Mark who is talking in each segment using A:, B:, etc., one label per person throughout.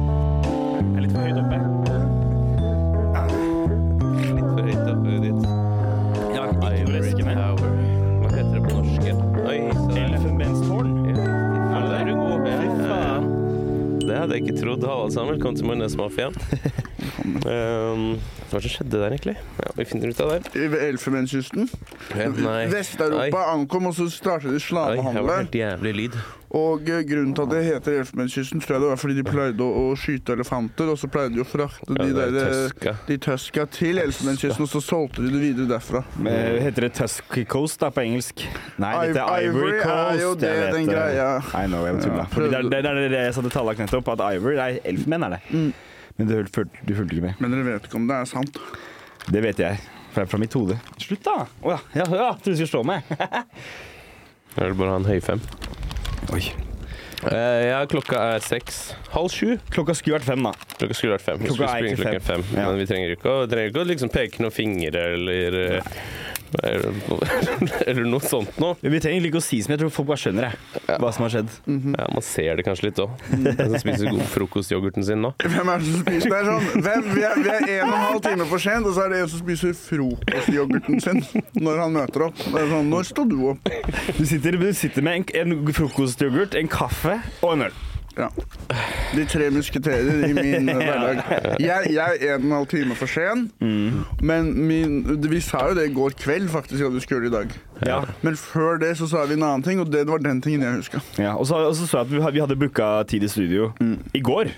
A: altså, alle sammen. Velkommen til Majones Mafia. Ehm, hva var det som skjedde der, egentlig? Ja, vi finner ut av det.
B: I Elfenbenskysten.
A: Ok, Eh, Nei.
B: Vest-Europa ankom, og så startet
A: Oi, oi,
B: de
A: her var det
B: slavehandelen.
A: helt jævlig lyd.
B: Og eh, grunnen til at det heter Elfenbenskysten, tror jeg det var fordi de pleide å, å skyte elefanter, og så pleide de å frakte
A: Ja,
B: de
A: det er
B: der eh,
A: tøska.
B: de tøska til Elfenbenskysten, og så solgte de det videre derfra.
C: Men Heter det Tusky Coast da, på engelsk? Nei, det heter Ivory
B: Iv- Ivory er
C: Coast.
B: jo
C: jeg
B: det,
C: vet
B: den
C: det.
B: greia.
C: I know, jeg tulla.
B: Ja,
C: Fordi det, er-
B: prøvde.
C: det, er- det er det jeg satte tallak nettopp, at Ivory det er elfenben, er det.
B: Mm.
C: Men du, hørte- fulgte- du fulgte ikke med.
B: Men dere vet ikke om det er sant.
C: Det vet jeg, for det er fra mitt hode. Slutt, da! Å ja, ja, ja, trodde du skulle slå meg.
A: Jeg vil bare ha en høyfem.
C: Oi.
A: Eh, ja, klokka er seks. Halv sju.
C: Klokka skulle vært fem, da.
A: Klokka skulle vært fem. Vi
C: Klokka
A: skulle
C: er
A: springe
C: ikke
A: klokken fem.
C: fem. Ja.
A: Men vi trenger ikke å, trenger ikke å liksom peke noen fingre eller eh, eller- Eller noe sånt noe.
C: Vi trenger egentlig ikke å si som jeg tror folk bare skjønner det. Hva som har skjedd.
B: Mhm.
A: Ja, man ser det kanskje litt òg. Den som spiser god frokostyoghurten sin nå.
B: Hvem er det som spiser det er sånn? Hvem, vi, er, vi er en og en halv time for sent, og så er det en som spiser frokostyoghurten sin når han møter opp. Det er sånn, Når sto du opp?
C: Du sitter, du sitter med en, en frokostyoghurt, en kaffe og en øl.
B: Ja. De tre musketerer i min eh, hverdag. Jeg, jeg er en og en halv time for sen, men min, vi sa jo det i går kveld faktisk at vi skulle gjøre det i dag.
C: Ja.
B: Men før det så sa vi en annen ting, og det var den tingen jeg huska.
C: Ja, og, så, og så så jeg at vi, had- vi hadde booka tid i studio i går.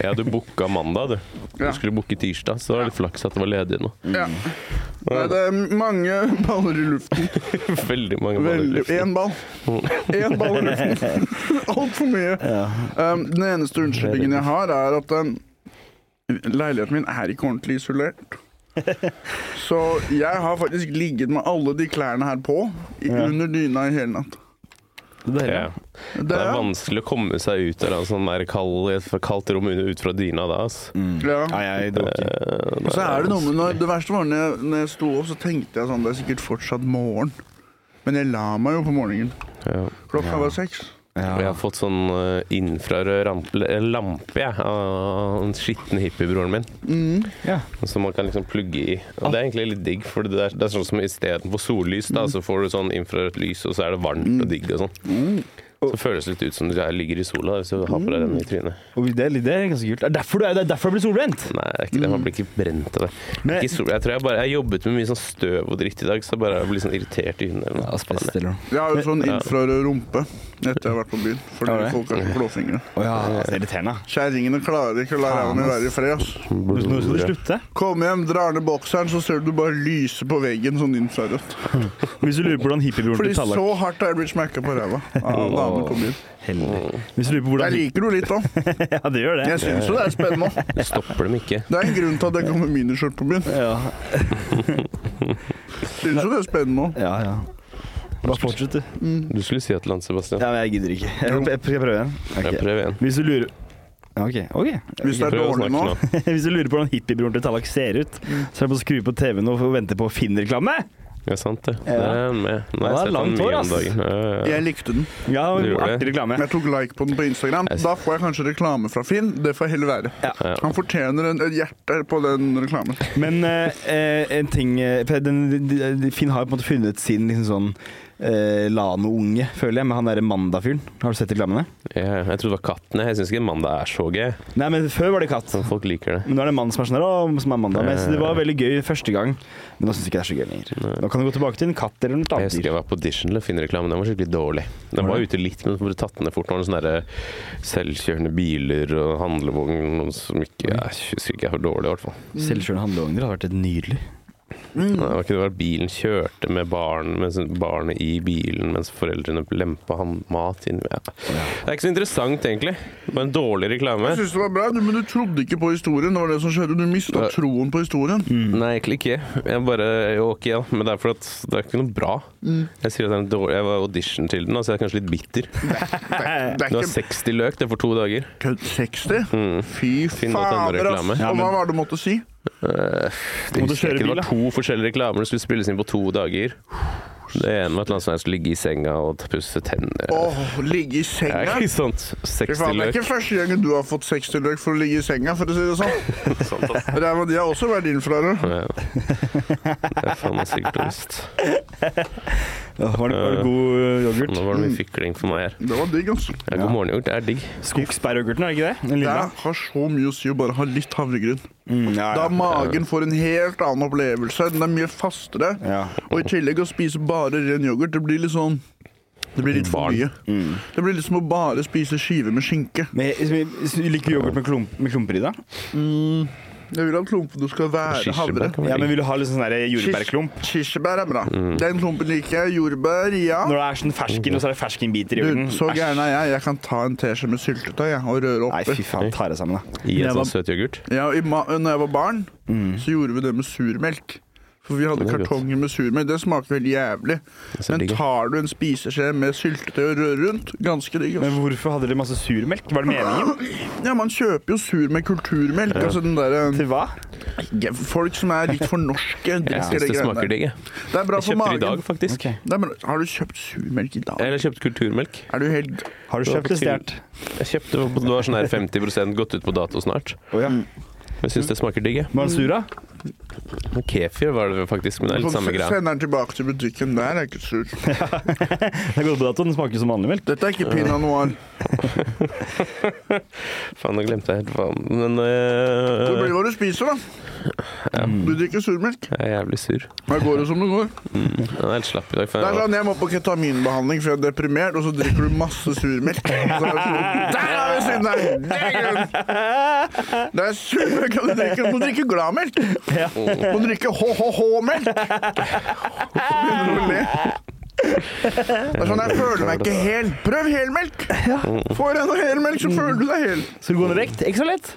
A: Ja, du booka mandag, du.
B: Ja.
A: Du skulle booke tirsdag, så det var litt flaks at det var ledig nå.
B: Ja. Nei, det er mange baller i luften.
A: Veldig mange baller i
B: Veldig.
A: luften.
B: Én ball. Én ball i luften. Altfor mye. Um, den eneste unnskyldningen jeg har, er at um, leiligheten min er ikke ordentlig isolert. Så jeg har faktisk ligget med alle de klærne her på i,
C: Ja.
B: under dyna i hele natt.
C: Det,
A: Ja. Det er vanskelig å komme seg ut av en sånn der kald, et for kaldt rom ut fra dyna da. ass. Eh,
C: Nei,
B: Ja.
C: jeg drakk ikke.
B: Og så er det noe med når, Det verste var når jeg, når jeg sto opp, så tenkte jeg sånn Det er sikkert fortsatt morgen. Men jeg la meg jo på morgenen.
A: Ja.
B: Klokka var seks.
C: Eh,
A: Og jeg har fått sånn uh, infrarød ramp- eller lampe jeg, av den skitne hippiebroren min.
C: Ja.
A: Som man kan liksom plugge i. Og det er egentlig litt digg, for det er, det er sånn som istedenfor sollys, da, så får du sånn infrarødt lys, og så er det varmt og digg og sånn.
C: Mm.
A: Så føles det litt ut som du ligger i sola hvis du har på deg den i trynet.
C: Og det, er litt- det er ganske kult. Det er derfor, du er, det er derfor jeg blir solbrent!
A: Nei, det er ikke det. man blir ikke brent av det.
C: Men-
A: Ikke sol, jeg tror jeg bare Jeg har jobbet med mye sånn støv og dritt i dag, så jeg bare blir sånn irritert i hundene. eller noe. Faen, jeg.
C: eller
B: Jeg har jo sånn infrarød rumpe etter jeg har vært på byen. Fordi
C: Har du det?
B: folk har ikke blåfingre.
C: Å ja, det er irriterende.
B: Kjerringene klarer ikke å la ræva mi være i fred. ass.
C: Nå skal du slutte.
B: Kom hjem, drar ned bokseren, så ser du bare lyse på veggen sånn infrarødt.
C: Hvis du lurer på hvordan hippiebroren
B: Fordi
C: til Tallak
B: så hardt har jeg blitt smekka på ræva av damer på byen.
C: Heldig. Hvis du lurer på
B: Jeg
C: hvordan
B: liker jo litt òg.
C: Ja, det gjør det.
B: Jeg syns jo det er spennende. også.
A: Det stopper dem ikke.
B: Det er en grunn til at jeg går med miniskjørt på byen.
C: Ja,
B: Syns jo det er spennende òg.
C: ja. ja. Bare fortsett, du.
A: Du skulle si et eller annet, Sebastian.
C: Ja, men jeg gidder ikke. Jeg, jeg, skal prøve igjen.
A: Ja,
C: Ok.
A: prøv igjen.
C: Hvis du lurer Ja, OK. ok.
B: Hvis det er
A: Prøv å
B: dårlig
A: snakke
B: nå.
A: nå.
C: Hvis du lurer på hvordan hippiebroren til Tallak ser ut, så er det bare å skru på TV-en og vente på Finn-reklame.
A: Ja, sant det.
C: Ja.
A: Det er han med. Nå
C: Han
A: har
C: har
A: jeg sett han
C: langt hår,
A: mye om
C: ass.
A: dagen. Ja, ja, ja.
B: Jeg likte den.
C: Ja,
A: Du gjorde det.
C: artig reklame.
B: Jeg tok like på den på Instagram. Da får jeg kanskje reklame fra Finn. Det får heller være.
A: Ja.
B: Han fortjener en, et hjerte på den reklamen.
C: Men eh, eh, en ting eh, for den, de- de- Finn har jo på en måte funnet sin liksom sånn eh, Lano-unge, føler jeg, med han derre Mandag-fyren. Har du sett reklamene?
A: Ja, Jeg trodde det var katten. jeg. Jeg syns ikke en mandag er så gøy.
C: Nei, men før var det katt.
A: Men folk liker det.
C: Men nå er det en mann som er sånn der, «Å, som er mandag med. Så det var veldig gøy første gang, men nå syns jeg ikke det er så gøy lenger. Nå kan du gå tilbake til en katt eller noe
A: Jeg
C: annet
A: husker
C: dyr.
A: jeg var på audition til å finne reklame. Den var skikkelig dårlig. Den var ute litt, men så ble tatt ned fort. Nå var det sånne der eh, selvkjørende biler og handlevogn og som ikke Jeg husker ikke jeg var dårlig, i hvert fall.
C: Selvkjørende handleogner hadde vært helt nydelig.
A: Det var ikke det at bilen kjørte med barn, mens barnet i bilen mens foreldrene lempa han mat inn ja. Det er ikke så interessant, egentlig. Det var en dårlig reklame.
B: Jeg synes det var bra, du- men du trodde ikke på historien. Det var det som skjedde. Du mista
A: Ja. Mm.
B: troen på historien.
A: Nei, egentlig ikke. Jeg bare, jo, ok, ja. Men det er fordi at det er ikke noe bra. Jeg sier at det er en dårlig, jeg var audition til den, da, så jeg er kanskje litt bitter.
B: Det
A: Det
B: er
A: var
B: ikke
A: 60 løk det for to dager.
B: kødd 60?
C: Mm.
B: Fy
A: Finn måtte endre
B: fader, ass.
A: reklame.
C: Ja,
B: Og
C: men-
B: hva var det du måtte si?
A: Det,
C: Måtte
A: husker
C: kjøre
A: jeg ikke. det
C: bil,
A: var
C: da.
A: to forskjellige reklamer som skulle spilles inn på to dager. Det ene var et eller annet sånt jeg skulle ligge i senga og pusse tenner.
B: Åh, ligge
A: Det
B: i
A: er
B: senga?
A: ikke sånt.
B: Fy
A: 60
B: faen, det er
A: løk.
B: ikke første gangen du har fått 60 løk for å ligge i senga, for å si det sånn.
A: Sånt, ass.
B: Ræva di har også vært infrarød.
A: Ja. Det er faen meg sikkert trist.
C: Ja, var, det, var det god eh, yoghurt?
A: Nå var det mye fikling for meg her.
B: Det var digg, altså.
A: Ja, god morgen, yoghurt. Det er digg.
C: Skogsbæryoghurten, er det ikke det? Den
B: Det
C: lilla?
B: har så mye å si å bare ha litt havregryn.
C: Mm, ja,
B: Da magen får en helt annen opplevelse. Den er mye fastere.
C: ja.
B: Og i tillegg å spise bare ren yoghurt, det blir litt sånn Det blir litt for
A: Barn.
B: mye.
C: Mm.
B: Det blir litt som å bare spise skive med skinke.
C: Men jeg- jeg- jeg Liker du yoghurt med, klump, med klumper i, da?
B: Mm. Jeg vil at klumpene skal være havre.
A: Kirsebær kan
C: Ja,
A: være
C: men
A: digg.
C: Vil du ha litt sånn der jordbærklump?
B: Kirs- Kirsebær er bra.
A: Mm.
B: Den klumpen liker jeg. Jordbær, ja.
C: Når det er sånn fersken, og så er det ferskenbiter i
B: Du,
C: yoghurten.
B: så
C: Æsj.
B: gæren er jeg. Jeg kan ta en teskje med syltetøy jeg, og røre
C: Nei, fy
B: oppi.
C: faen. Ta det sammen, da.
A: I en
B: Jeg var-
A: sånn søt yoghurt.
B: Ja, i ma når jeg var barn, så gjorde vi det med surmelk. For vi hadde
A: Mm. Det er godt.
B: kartonger med surmelk. Det smaker veldig jævlig.
A: Det ser
B: Men
A: digg ut.
B: tar du en spiseskje med syltetøy og rører rundt, ganske digg.
C: Men
B: altså.
C: hvorfor hadde dere masse surmelk? Var det meningen?
B: Ja, man kjøper jo sur med kulturmelk. Altså den der,
C: Til hva?
B: eh, folk som er litt for norske,
A: Jeg
B: drikker
A: syns
B: det
A: det
B: greiene
A: smaker
B: der.
A: digg. jeg.
B: Det er bra
A: Jeg
B: for
A: kjøpte det i
B: magen.
A: dag, Eh. faktisk.
C: Ok.
B: Det er bra. Har du kjøpt surmelk i dag?
A: Eller jeg kjøpte kulturmelk.
B: Er du helt
C: Har du
A: Det var
C: kjøpt
A: på
C: eller stjålet?
A: Jeg kjøpte, Det var sånn her 50 gått ut på dato snart.
C: Å ja.
A: Men jeg syns det smaker digg. jeg.
C: Var den sur, da?
A: Men Kefir var det faktisk, men det er litt samme greia.
B: Sånn, Sender den tilbake til butikken. Der er ikke sur.
C: Det er godt på dato. Den smaker jo som vanlig melk.
B: Dette er
A: Eh.
B: ikke pinot noir.
A: Faen, nå glemte jeg helt hva Men øh,
B: Hvor blir det hva du spiser, da?
C: Mm.
B: Du drikker surmelk.
A: jeg er jævlig sur.
B: Da går det som det går.
A: Den er helt slapp i dag.
B: Det
A: For
B: er
A: jeg,
B: sånn, Jeg må på ketaminbehandling, for jeg er deprimert, og så drikker du masse surmelk. Så er det sånn, Der har vi synderen! Det er grunn! Det er surmelk du drikker. Du må drikke gladmelk. Du må drikke HHH-melk. Begynner du å le? Det er sånn, Jeg føler meg ikke hel. Prøv helmelk! Får jeg noe helmelk, så føler du deg hel.
C: Skal du gå ned i vekt? Ikke så lett.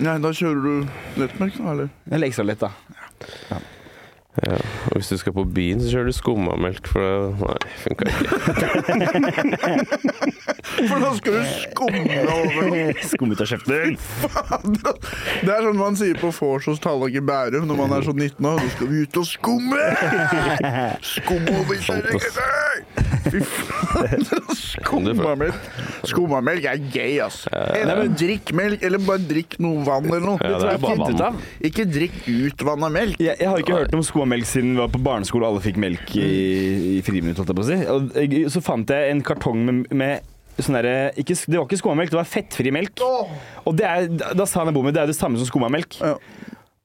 B: Nei, da kjører du lettmelk, da, eller?
C: Eller ekstra lett, da.
A: ja. Og hvis du skal på byen, så kjører du skummamelk, for det Nei, funka ikke.
B: For da skal du skumme over noe.
C: Skummet av kjeften.
B: Det er sånn man sier på vors hos Tallak i Bærum når man er sånn 19 år. Nå skal vi ut og skumme! Skumme over kjerringa! Fy faen. Skummamelk Skummamelk er gøy, ass. Enten drikk melk, eller bare drikk noe vann eller noe.
A: Ja, det er bare
B: ikke,
A: vann.
B: ikke drikk utvanna melk.
C: Jeg, jeg har ikke hørt om skoamelk siden vi var på barneskole og alle fikk melk i, i friminutt, holdt jeg på å si. Og jeg, så fant jeg en kartong med, med sånn derre ikke- Det var ikke skoamelk, det var fettfri melk.
B: Åh!
C: Og det er, da- da sa han i bommet, det er jo det samme som skummamelk.
B: Ja.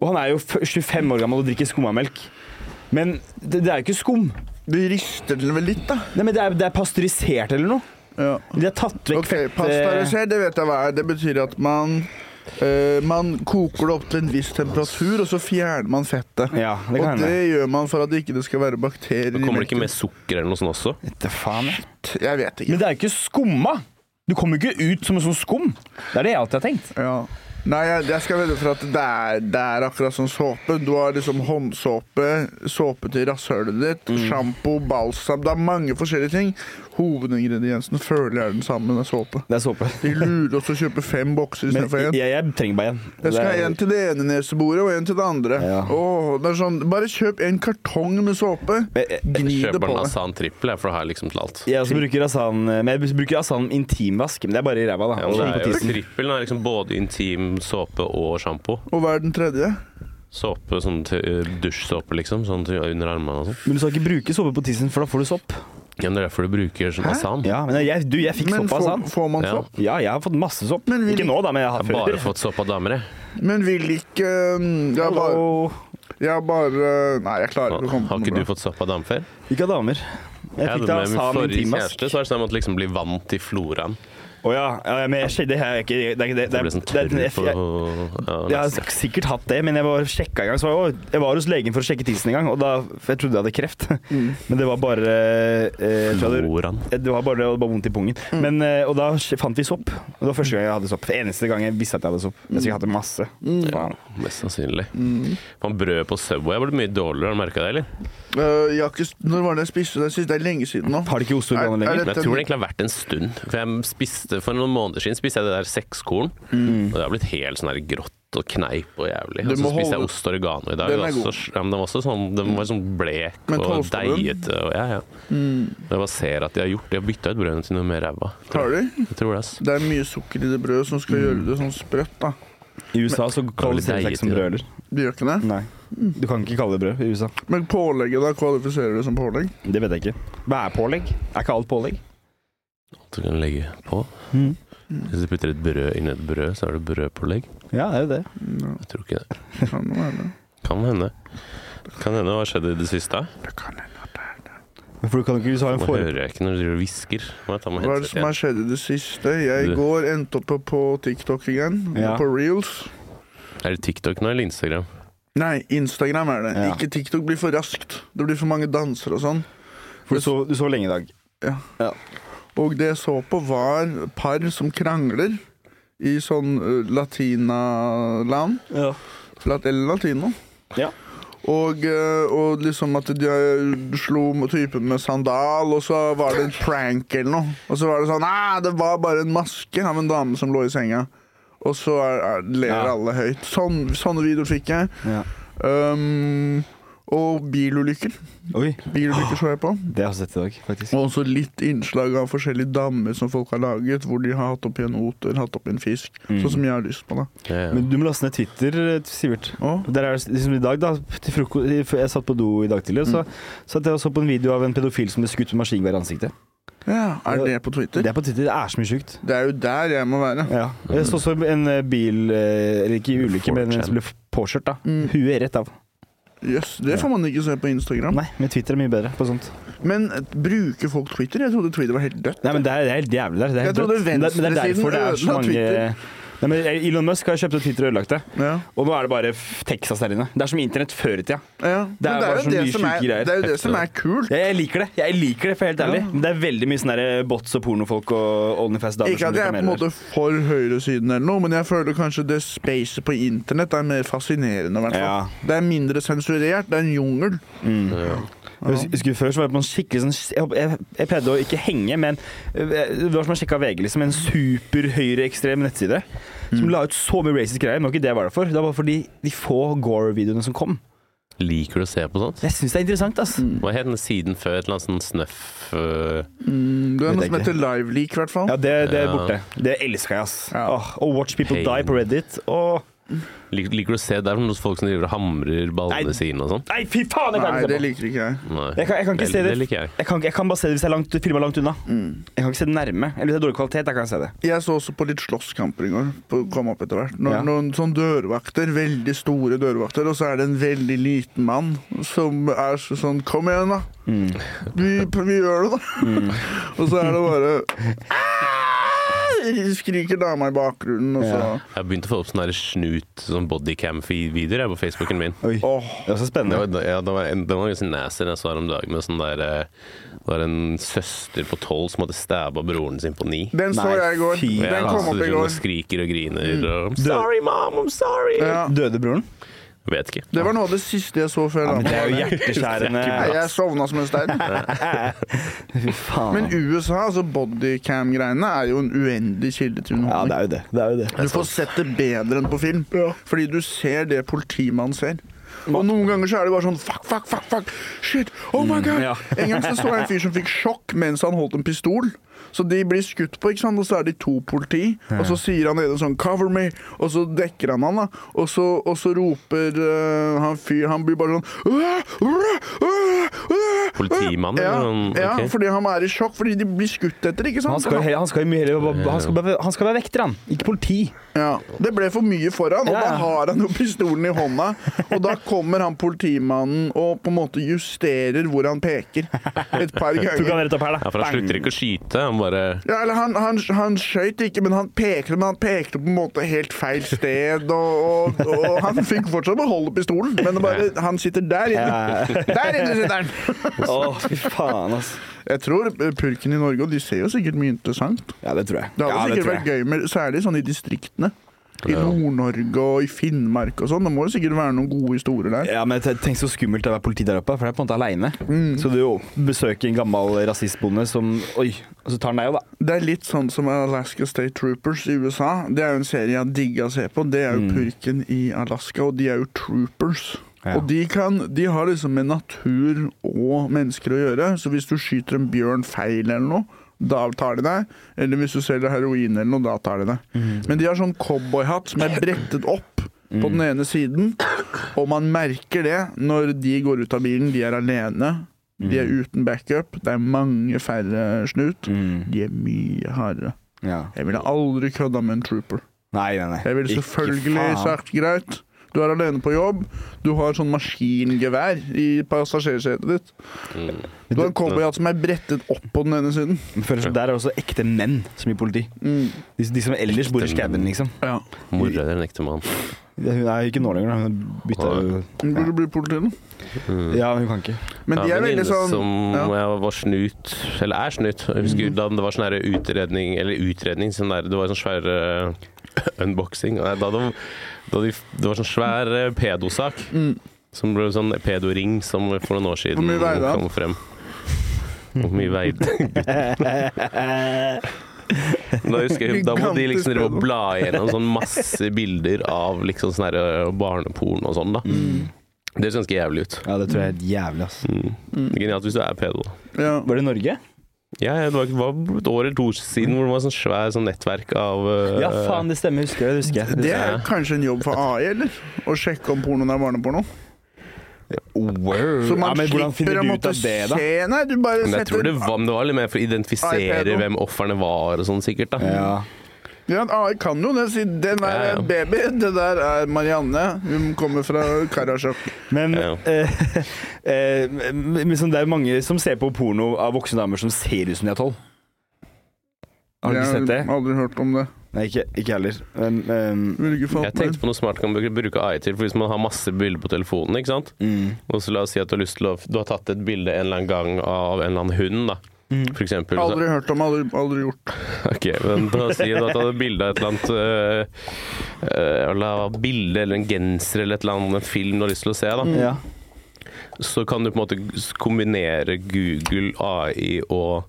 C: Og han er jo f- 25 år gammel og drikker skummamelk. Men det, det er jo ikke skum.
B: Du rister den vel litt, da.
C: Nei, men det er, det er pasteurisert eller noe.
B: Ja.
C: De har tatt vekk
B: Ok,
C: fett... eh,
B: pasteurisert, det vet jeg hva er. Det betyr at man eh, man koker det opp til en viss temperatur, og så fjerner man fettet.
C: Ja, det
B: og
C: kan hende.
B: det gjør man for at det ikke skal være bakterier
A: Kommer det ikke med sukker eller noe sånt også?
C: Vet du faen, jeg.
B: melken. Jeg vet ikke.
C: Men det er jo ikke skumma. Du kommer jo ikke ut som en sånn skum. Det er det jeg alltid har tenkt.
B: Ja. Nei, jeg, jeg skal vedde for at det er, det er akkurat som såpe. Du har liksom håndsåpe, såpe til rasshølet ditt,
A: Mm.
B: sjampo, balsam Det er mange forskjellige ting. Hovedingrediensen føler jeg er den samme, det er såpe.
C: Det er såpe.
B: De lurer oss til å kjøpe fem bokser
C: Men
B: istedenfor én.
C: jeg, jeg trenger bare en.
B: Jeg skal
C: Det
B: ha
C: er-
B: en til det ene neseboret og en til det andre.
C: Ja.
B: Åh, det er sånn, bare kjøp en kartong med såpe.
C: Men eh, jeg-
B: Gni det
A: Kjøper altså.
B: på
A: en
B: deg.
A: Asan trippel, jeg, for det har jeg liksom til alt.
C: Jeg også bruker Asan eh, Men jeg bruker Asan intimvask, men det er bare i ræva, da.
A: Ja,
C: Og på
A: men det er jo
C: tissen.
A: trippelen er liksom både intim såpe og sjampo.
B: Og hva er den tredje?
A: Såpe, sånn til, ø, dusjsåpe, liksom. Sånn til under armene og sånn.
C: men du skal ikke bruke såpe på tissen, for da får du sopp.
A: Ja, men det er derfor du bruker sånn Asan.
C: Ja, men jeg, du, jeg fikk
B: Men
C: sopp av
B: får,
C: Asan.
B: får man
A: Ja.
B: sopp?
C: Ja, jeg har fått masse sopp.
B: Men vil-
C: Ikke nå, da, men jeg har
A: Jeg har bare
C: før.
A: fått såpe av damer, jeg.
B: Men vil ikke um, Jeg har bare,
C: Hallo.
B: jeg har bare Nei, jeg klarer ikke å komme på
A: Har ikke
B: noe
A: du
B: bra.
A: fått såpe av damer før?
C: Ikke av damer. Jeg fikk
A: hadde
C: da
A: med min
C: Asan
A: forrige
C: intimvask.
A: kjæreste, så er det sånn at man liksom blir vant til floraen.
C: Å ja, ja, men jeg, skjønner- det er ikke Det er ikke det.
A: Det
C: det,
A: ble sånn
C: er- det,
A: tørr
C: er-
A: på
C: jeg,
A: ja,
C: jeg har
A: nesten.
C: s- sikkert hatt det, men jeg var sjekka en gang. Så var jeg, å, jeg var hos legen for å sjekke tissen en gang, og da, for jeg trodde jeg hadde kreft.
B: Mm.
C: Men det var bare eh, jeg tror jeg hadde-
A: Floraen.
C: Det var bare, det var bare vondt i pungen. Men, eh, og da sk- fant vi sopp. Og det var første gang jeg hadde sopp. Eneste gang jeg visste at jeg hadde sopp. Jeg skulle hatt det masse. Faen.
A: Mest sannsynlig.
C: Mm.
A: Faen, brødet på Subway har blitt mye dårligere, har du merka det, eller?
B: Øh, jeg har ikke, Når var det jeg spiste det sist? Det er lenge siden nå.
C: Har det ikke
B: Er-
C: ostorganer
B: er
C: lenger?
A: Men jeg tror det egentlig har vært en stund. For jeg spiste For noen måneder siden spiste jeg det der sekskorn. Og det har blitt helt sånn her grått og kneip og jævlig.
B: Mm. Du
A: Og så
B: må
A: spiste jeg
B: holde-
A: ost og oregano i dag.
B: Den er
A: og
B: god.
A: så- ja, men den var også sånn Den var sånn blek
B: Men
A: og
B: toaster du den?
A: deigete. Og, ja, ja. Jeg bare ser at de har gjort De har bytta ut brødene til noe mer ræva.
B: Mm, Har du?
A: Jeg tror det, ass.
B: Det er mye sukker i det
C: Mm.
B: brødet som skal gjøre det sånn sprøtt. da
C: I USA så kvalifiserer det seg
A: deilig
C: ikke som
A: til det.
C: brøler.
B: Det gjør ikke det?
C: Nei. Mm. Du kan ikke kalle det brød i USA.
B: Men pålegget, da? Kvalifiserer det som pålegg?
C: Det vet jeg ikke. Hva er pålegg? Er ikke alt pålegg?
A: Du kan legge på.
C: Mm.
B: Mm.
A: Hvis du putter et brød inn i et brød, så er det brødpålegg.
C: Ja, det er jo det.
B: Ja,
A: Jeg tror ikke det.
B: det kan være det.
A: Kan hende. Kan hende hva har skjedd i det siste.
B: Det kan hende at det er det.
C: For du kan ikke hvis du har
A: Nå
C: en fore...
A: hører jeg ikke når du driver og hvisker. Må jeg ta meg
B: Hva er det
A: headset
B: som har
A: igjen.
B: skjedd i det siste? Jeg i
A: Du-
B: går endte opp på TikTok igjen.
C: Ja.
B: På reels.
A: Er det TikTok nå eller Instagram?
B: Nei, Instagram er det.
C: Ja.
B: Ikke TikTok blir for raskt. Det blir for mange dansere og sånn.
C: For du så, du så lenge i dag.
B: Og det jeg så på, var par som krangler i sånn eh, latinaland.
C: Ja.
B: Lat eller latino.
C: Ja.
B: Og, eh, og liksom at de eh, slo mot typen med sandal, og så var det en prank eller noe. Og så var det sånn Nei, det var bare en maske av en dame som lå i senga. Og så er, er, ler
C: Ja.
B: alle høyt. Sånn, sånne videoer fikk jeg. Um, og bilulykker.
C: Oi.
B: Bilulykker så jeg på.
C: Det har jeg også sett i dag, faktisk.
B: Og også litt innslag av forskjellige dammer som folk har laget, hvor de har hatt oppi en oter, hatt oppi en fisk.
C: Mm.
B: Sånn som jeg har lyst på, da.
A: Ja, ja.
C: Men du må laste ned Twitter, eh, Sivert.
B: Og,
C: Der er det liksom i dag da til froko Jeg satt på do i dag tidlig, og så satt jeg og så på en video av en pedofil som ble skutt med maskingevær i ansiktet.
B: ja, er det på Twitter?
C: Det er på Twitter. Det er så mye sjukt.
B: Det er jo der jeg må være.
C: Ja. Jeg så også en eh, bil eh, Eller ikke ulykke, men en som ble påkjørt, da.
B: Mm.
C: Huet rett av.
B: Jøss, det får man ikke se på Instagram.
C: Nei, men Twitter er mye bedre på sånt.
B: Men eh, bruker folk Twitter? Jeg trodde Twitter var helt dødt.
C: Nei, men det er, det er helt jævlig der. Det er
B: Jeg
C: helt
B: trodde
C: dødt. Men det- men det er
B: venstresiden
C: derfor det er så
B: ødela
C: mange
B: Twitter.
C: Nei, men Elon Musk har kjøpt opp Twitter og ødelagt det.
B: Ja.
C: Og nå er det bare f- Texas der inne. Det er som internett før i tida. Det er
B: Ja. Men det
C: bare
B: er
C: så
B: jo det
C: mye
B: som
C: sjuke
B: er,
C: greier.
B: det er, jo det som er kult.
C: Jeg, jeg liker det, jeg liker det for helt ærlig.
B: Ja.
C: Men det er veldig mye sånne der bots og pornofolk og Onlyfast-damer.
B: Ikke at jeg er på en måte for høyresiden eller noe, men jeg føler kanskje det spacet på internett er mer fascinerende, i hvert fall.
C: Ja.
B: Det er mindre sensurert, det er en jungel.
A: Ja.
C: mm. Jeg husker- husker Før så var jeg på en skikkelig sånn Jeg, håper- jeg, jeg pleide å ikke henge, men eh, det var som å sjekke VG, liksom. En superhøyreekstrem nettside som la ut så mye racist greier. Men det var ikke det jeg var der for. Det var bare fordi de få Gore-videoene som kom.
A: Liker du å se på sånt?
C: Jeg syns det er interessant, ass.
A: Hva het den siden før? Et eller annet sånn snøff øh,
C: Vet
B: Mm, det er
C: jeg
B: noe som
C: ikke.
B: heter liveleak, i hvert fall.
C: Ja, det, det er
A: Ja.
C: borte. Det elska jeg, ass.
B: Ja.
C: Åh, og Watch People
A: Pain.
C: Die på Reddit og
A: Lik, Liker du å se der hvor noen folk som driver og hamrer ballene
C: Nei.
A: sine og sånn?
C: Nei, fy faen! Jeg
B: Nei,
C: klarer ikke
B: det
C: å se på.
B: liker ikke jeg.
A: Nei.
C: Jeg kan, jeg kan ikke se
A: det,
C: det.
A: liker jeg.
C: Jeg kan, ikke- jeg kan bare se det hvis jeg er langt, filma langt unna. Jeg kan ikke se det nærme. Eller hvis det er dårlig kvalitet, da kan jeg se det.
B: Jeg så også på litt slåsskamper i går. På, kom opp etter hvert. Noen,
C: Ja.
B: noen sånn dørvakter, veldig store dørvakter, og så er det en veldig liten mann som er så- sånn Kom igjen, da! Vi, vi gjør det, da!
C: Mm.
B: og så er det bare «Ah!» Skriker dama i bakgrunnen, og så
C: Ja.
A: Jeg har begynt å få opp sånne her snut sånn bodycam-videoer jeg, på Facebooken min.
C: Oi.
B: Åh,
C: Det er også
A: Det
C: spennende.
A: var, ja, det var, en- det var ganske nasty jeg så her om dagen. Med sånn der, eh, det var en søster på tolv som hadde stabba broren sin på ni.
B: Den så
C: Nei,
B: jeg i går.
C: fy
A: Ja,
B: Den kom
A: så
B: opp i
A: hun
B: går.
A: Skriker sånn og griner og I'm
C: Død.
A: sorry, mom, I'm sorry!
B: Ja.
C: Døde broren?
A: Vet ikke.
B: Det var noe av det siste jeg så før
C: Ja, men det er jo
B: jeg
C: hjerteskjærende.
B: Jeg sovna som en stein.
C: Fy faen.
B: Men USA, altså bodycam-greiene, er jo en uendelig kilde til
C: ja,
B: underholdning.
C: det er jo det. det, er jo det.
B: du får sett det bedre enn på film, fordi du ser det politimannen ser. Og noen ganger så er det bare sånn fuck, fuck, fuck, fuck, shit, oh my
A: Mm,
B: god.
C: ja.
B: En gang så så jeg en fyr som fikk sjokk mens han holdt en pistol. Så de blir skutt på, ikke sant? og så er de to politi. Og så sier han ene sånn 'cover me', og så dekker han han, da. Og så, og så roper øh, han fyr Han blir bare sånn «Åh, åh, åh, åh, åh».
A: Politimannen,
B: Ja,
A: eller noen-
B: ja
A: ok.
B: fordi han er i sjokk, fordi de blir skutt etter, ikke sant?
C: Han skal, jo he- han skal jo mye heller bare- han skal, bare- han skal være vekter, han. Ikke politi.
B: Ja, Det ble for mye for han, og
C: Ja, ja.
B: da har han jo pistolen i hånda. Og da kommer han politimannen og på en måte justerer hvor han peker et par
C: Tok han
B: ganger.
C: rett opp her,
A: Ja,
C: da.
A: for han
C: Bang.
A: slutter ikke å skyte. Han bare
B: Ja, eller han, han, han skøyt ikke, men han pekte Men han pekte på en måte helt feil sted. Og, og, og han fikk fortsatt beholde pistolen, men det bare, han sitter der inne.
C: Ja.
B: Der inne sitter han!
C: Å, fy faen, altså.
B: Jeg tror eh, purken i Norge, og de ser jo sikkert mye interessant.
C: Ja, det tror jeg.
B: Det hadde
C: ja,
B: sikkert
C: tror
B: vært
C: jeg.
B: gøy, med, særlig sånn i distriktene. I
A: Ja.
B: Nord-Norge og i Finnmark og sånn. Det må jo sikkert være noen gode historier der.
C: Ja, men te- Tenk så skummelt det er å være politi der oppe, for det er på en måte aleine. Så du jo besøker en gammel rasistbonde som Oi, og så tar han deg jo, da.
B: Det er litt sånn som Alaska State Troopers i USA. Det er jo en serie jeg digger å se på. Det er jo purken i Alaska, og de er jo troopers.
C: Ja.
B: Og de, kan, de har liksom med natur og mennesker å gjøre, så hvis du skyter en bjørn feil eller noe, da tar de deg. Eller hvis du selger heroin eller noe, da tar de deg. Men de har sånn cowboyhatt som er brettet opp på den ene siden, Og man merker det når de går ut av bilen. De er alene. De er uten backup. Det er mange færre snut.
C: Mm.
B: De er mye hardere.
C: Ja.
B: Jeg ville aldri kødda med en trooper.
C: Nei, nei, nei.
B: Jeg ville
C: Ikke
B: selvfølgelig
C: faen.
B: sagt greit. Du er alene på jobb. Du har sånn maskingevær i passasjersetet ditt.
A: mm,
B: Du har en cowboyhatt som er brettet opp på den ene siden.
C: Men føler som Der er også ekte menn som gir politi.
B: Mm.
C: De, de som ellers bor i skauen, liksom.
B: Ja.
A: Mora di er en ekte mann.
C: Det- Hun er jo ikke nå lenger, da. Hun bytta jo
B: Du Mm. burde bli politi nå.
A: Mm.
C: Ja, hun kan ikke.
B: Men de
A: Ja,
B: er
A: venninne
B: veldig sånn
A: Som
B: ja. Mhm.
A: jeg var snut, eller er snut. Jeg husker da det var sånn her utredning, eller utredning, sånn der, det var sånn svær eh, unboxing. Nei, Da det, da de, det var sånn svær eh, pedosak.
B: Mm.
A: Som ble sånn pedoring som for noen år siden
B: Hvor mye veide han?
A: kom frem. Hvor mye veide Da husker jeg, da må de liksom drive og bla gjennom sånn masse bilder av liksom sånn her eh, barneporno og sånn, da. Det høres ganske jævlig ut.
C: Mm. Ja, det tror jeg er helt jævlig, ass.
A: Mm. Genialt hvis du er pedo. da.
B: ja.
C: Var det i Norge?
A: Ja, det var, det var et år eller to år siden hvor det var sånn svær sånn nettverk av eh,
C: Ja, faen, det stemmer. Husker jeg det. husker jeg
B: Det
C: husker
B: er
A: Ja.
B: kanskje en jobb for AI, eller? Å sjekke om pornoen er barneporno.
A: Mm.
C: Word.
B: Så
C: ja,
B: man
C: men hvordan
B: slipper
C: finner
B: å
C: du ut
B: måtte
C: av
B: se
C: det, da?
B: Nei, du bare
A: Men jeg tror det
B: setter
A: var, men det var litt mer for å
B: iPad
A: identifisere
B: og-
A: hvem ofrene var og sånn, sikkert. da
C: Ja.
B: Ja, AI kan jo det. Si den
A: Ja,
B: er
A: ja.
B: en baby, det der er Marianne. Hun kommer fra Karasjok.
C: Men
A: Ja.
C: eh, eh, men sånn, det er jo mange som ser på porno av voksne damer som ser ut som de er tolv. Har du
B: Jeg
C: ikke sett det?
B: Aldri hørt om det.
C: Nei, ikke ikke heller. Men ehm,
B: Ville ikke
A: Jeg
B: falt
A: tenkte
B: meg.
A: på noe smart kan bruke- bruke AI til. For Hvis man har masse bilder på telefonen, ikke sant?
C: mm.
A: og så la oss si at du har lyst til å Du har tatt et bilde en eller annen gang av en eller annen hund, da.
C: mm.
A: For eksempel. så-
B: Aldri hørt om, aldri, aldri gjort.
A: Ok, men da sier du at du hadde bilde av et eller annet eh, eh, eller bilde eller en genser eller et eller annet, en film du har lyst til å se, da.
C: ja.
A: så kan du på en måte kombinere Google, AI og,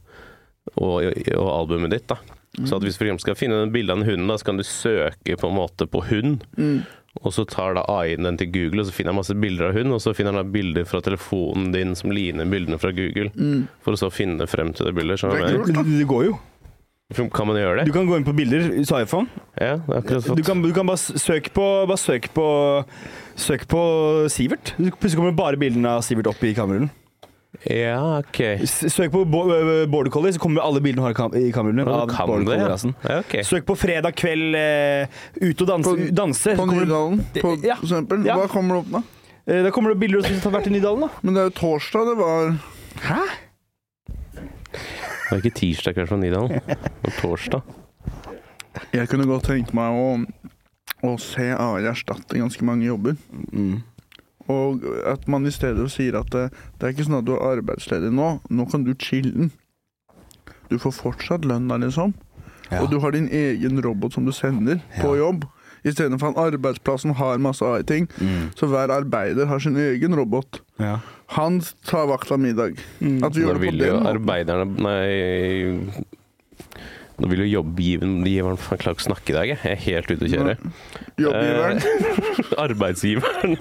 A: og, og albumet ditt. da. Så at
C: Mm.
A: hvis for eksempel skal finne en bilde av en hund, da, så kan du søke på en måte på hund.
B: Mm,
A: Og så tar da AI-en den til Google, og så finner han masse bilder av hund. Og så finner han da bilder fra telefonen din som ligner bildene fra Google.
B: mm.
A: For å så finne frem til det bildet. skjønner du hva jeg
B: Det
C: Det, det går jo.
A: mener? Kan man gjøre
C: Du
A: det?
C: kan gå inn på bilder i iPhone.
A: Ja, det er akkurat sånn.
C: Du
A: fått.
C: kan, du kan bare s- søke på Bare søk på Søk på Sivert. Du- Plutselig kommer bare bildene av Sivert opp i kamerarullen.
A: Ja, ok.
C: S- Søk på Bo- øh, border collie, så kommer alle bildene du har i kam- i kamerarullen.
A: Ja,
C: av
A: Du kan
C: border
A: det, ja. Eh.
C: collie-rasen.
A: ja ok.
C: Søk på fredag kveld eh, ute og danse.
B: På-
C: danse så
B: På
C: kommer det-
B: Nydalen, på,
C: Ja.
B: for eksempel.
C: Ja.
B: Hva kommer det opp med?
C: Eh, Da kommer det bilder som har vært i Nydalen, da.
B: Men det er jo torsdag det var
C: Hæ?
A: Det er ikke tirsdag kveld fra Nydalen. Det er torsdag.
B: Jeg kunne godt tenke meg å, å se AI erstatte ganske mange jobber.
C: Mm.
B: Og at man i stedet sier at det, det er ikke sånn at du er arbeidsledig nå, nå kan du chille'n. Du får fortsatt lønna, liksom.
C: Ja.
B: Og du har din egen robot som du sender på jobb. Istedenfor at arbeidsplassen har masse AI-ting. Så hver arbeider har sin egen robot.
C: Mm. Ja.
B: Han tar vakta middag.
C: Mm.
B: At vi
A: Da
B: gjør det på
A: vil jo
B: den måten.
A: arbeiderne Nei Nå vil jo jobbgiveren giveren- Jeg klarer ikke å snakke i dag, jeg. Jeg er helt ute å kjøre.
B: Jobbgiveren.
A: Eh. Arbeidsgiveren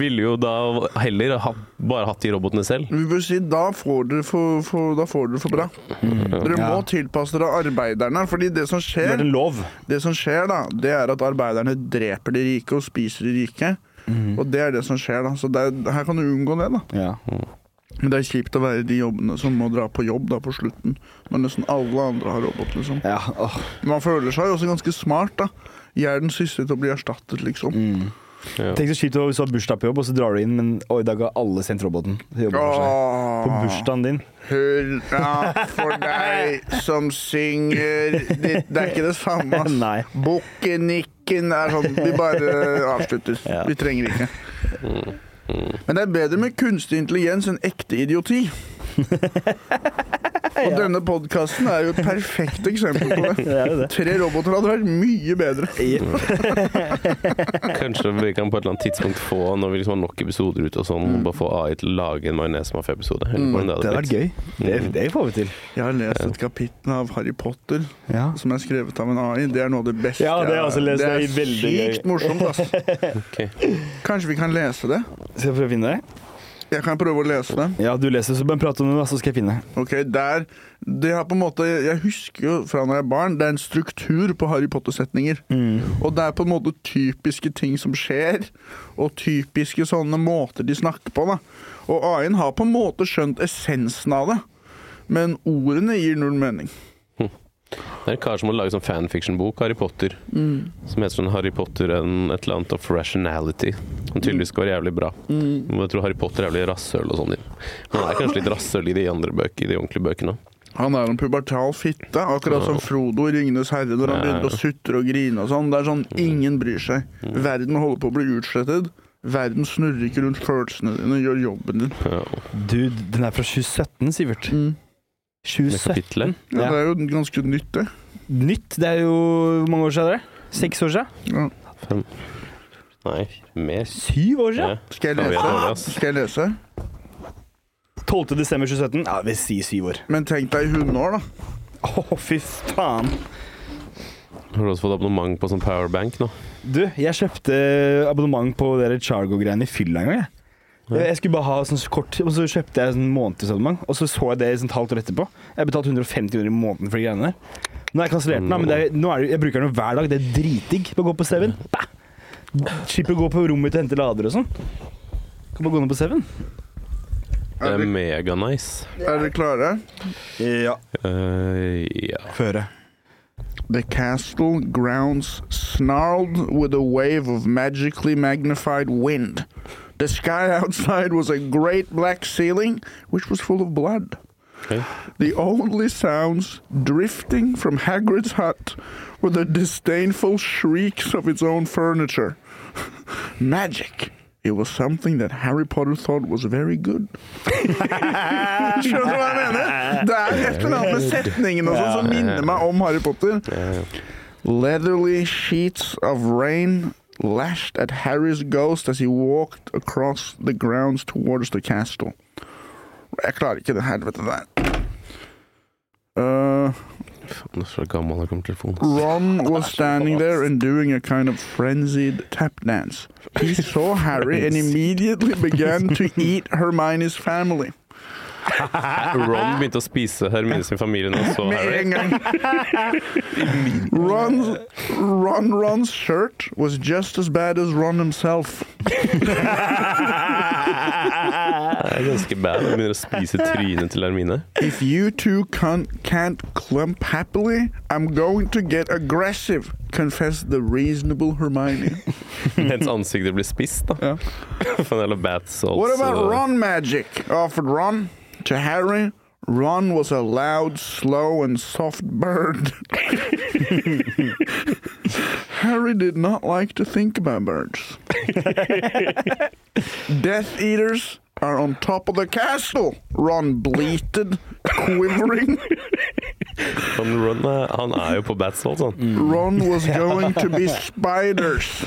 A: ville jo da heller ha, bare hatt de robotene selv.
B: Vi bør si da får dere for, for, da får dere for bra. Dere må
C: Ja.
B: tilpasse dere arbeiderne. fordi det som
C: Det
B: skjer
C: er en lov.
B: Det som skjer, da, det er at arbeiderne dreper de rike og spiser de rike. Og det er det som skjer, da. Så det er, her kan du unngå det, da.
C: Ja.
B: Men det er kjipt å være i de jobbene som må dra på jobb da på slutten. Når nesten alle andre har robot, liksom.
C: ja. Åh.
B: Men man føler seg jo også ganske smart, da. Jeg er den siste til å bli erstattet, liksom.
A: Ja.
C: Tenk så kjipt å- hvis du har bursdag på jobb, og så drar du inn, men å, i dag har alle sendt roboten. til jobben for seg.
B: Åh,
C: På bursdagen din.
B: Hurra for deg som synger Det, det er ikke det samme, ass.
C: Nei.
B: Bukkenikken er sånn Vi bare avslutter. Vi trenger ikke. Men det er bedre med kunstig intelligens enn ekte idioti. Og denne podkasten er jo et perfekt eksempel på det.
C: Det er jo det.
B: Tre roboter hadde vært mye bedre.
A: Kanskje vi kan på et eller annet tidspunkt få Når vi liksom har nok episoder ute og
B: Mm.
A: sånn, bare få AI til å lage en majones-mafia-episode. Eller hvordan
C: Det hadde vært gøy. Det, det får vi til.
B: Jeg har lest et kapittel av Harry Potter
C: Ja.
B: som er skrevet av en AI. Det er noe av det beste
C: Ja, det har jeg også lest.
B: Det er
C: Det er veldig gøy.
B: sykt morsomt, altså.
A: Ok.
B: Kanskje vi kan lese det?
C: Skal jeg prøve å finne det?
B: Jeg kan prøve å lese det.
C: Ja, du leser, så bare prat om det, da, så skal jeg finne.
B: Ok, der, det har på en måte, Jeg husker jo fra når jeg er barn, det er en struktur på Harry Potter-setninger. Og det er på en måte typiske ting som skjer, og typiske sånne måter de snakker på. da. Og AI-en har på en måte skjønt essensen av det, men ordene gir null mening.
A: Det er en kar som må lage sånn fanfiction-bok, Harry Potter, som heter sånn Harry Potter and et eller annet of rationality. Som tydeligvis skal være jævlig bra. Men jeg tror Harry Potter er jævlig rasshøl og sånn. Men han er kanskje litt rasshøl i de andre bøkene, i de ordentlige bøkene.
B: Han er en pubertal fitte, akkurat som Frodo i 'Ringenes herre' når han begynte å sutre og grine og sånn. Det er sånn ingen bryr seg.
A: Mm.
B: Verden holder på å bli utslettet. Verden snurrer ikke rundt følelsene dine, gjør jobben din.
A: Ja,
C: Du, den er fra 2017, Sivert.
B: Mm.
A: det
C: 2017?
A: kapitlet.
B: Ja,
C: Ja.
B: Det er jo ganske nytt, det.
C: Nytt. Det er jo Hvor mange år siden er det? Seks år siden?
B: Ja.
A: Fem. Nei, mer.
C: Syv år siden?
A: Ja.
B: Skal jeg
A: Da vet jeg det,
B: lese?
A: ass.
B: Skal jeg lese?
C: 12. desember 2017? Ja, vi sier syv år.
B: Men tenk deg hundeår, da.
C: Å, fy faen.
A: Har du også fått abonnement på sånn powerbank nå?
C: Du, jeg kjøpte abonnement på dere Chargo-greiene i fylla en gang, jeg. Jeg skulle bare ha sånn kort, og så kjøpte jeg sånn månedsabonnement. Og så så jeg det sånn et halvt år etterpå. Jeg betalte 150 kroner i måneden for de greiene der. Nå har jeg kansellert den, da, men det er, nå er det, jeg bruker den jo hver dag. Det er dritdigg. Bare gå på Seven. Bah! Slipper å gå på rommet mitt og hente lader og sånn. Kan bare gå ned på Seven.
A: Det
B: Er
A: er
B: dere-
A: meganice.
B: er dere klare?
C: Ja.
A: Uh, ja.
C: Føre.
B: The castle grounds snarled with a wave of magically magnified wind. The sky outside was a great black ceiling, which was full of blood.
A: ok.
B: The only sounds drifting from Hagrid's hut were the disdainful shrieks of its own furniture. Magic. It was something that Harry Potter thought was very good. Skjønner du hva jeg mener? Det er et eller annet med setningen og sånn som minner meg om Harry Potter.
A: Eh,
B: Leathery sheets of rain lashed at Harry's ghost as he walked across the grounds towards the castle. Jeg klarer ikke det helvete der. Uh,
A: Nå er jeg gammel jeg kommer til telefonen.
B: Ron was standing there and doing a kind of frenzied tap dance. He saw Harry and immediately began to eat Hermione's family.
A: Ron begynte å spise Hermine sin familie nå, så
B: Med
A: Harry.
B: en gang. Ron's, Ron Ron's shirt was just as bad as Ron himself.
A: Det er ganske bad. Han begynner å spise trynet til Hermine.
B: If you two can can't clump happily, I'm going to get aggressive, confessed the reasonable Hermione.
A: Mens ansiktet blir spist, da.
B: Ja.
A: Faen, jævla bad salts.
B: What about
A: og-
B: Ron magic? offered Ron to Harry. Ron was a loud, slow, and soft bird. Harry did not like to think about birds. Death Eaters are on top of the castle, Ron bleated, quivering.
A: Han, Ron er, han er jo på bad sånn. salts, han.
B: Ron was going to be spiders.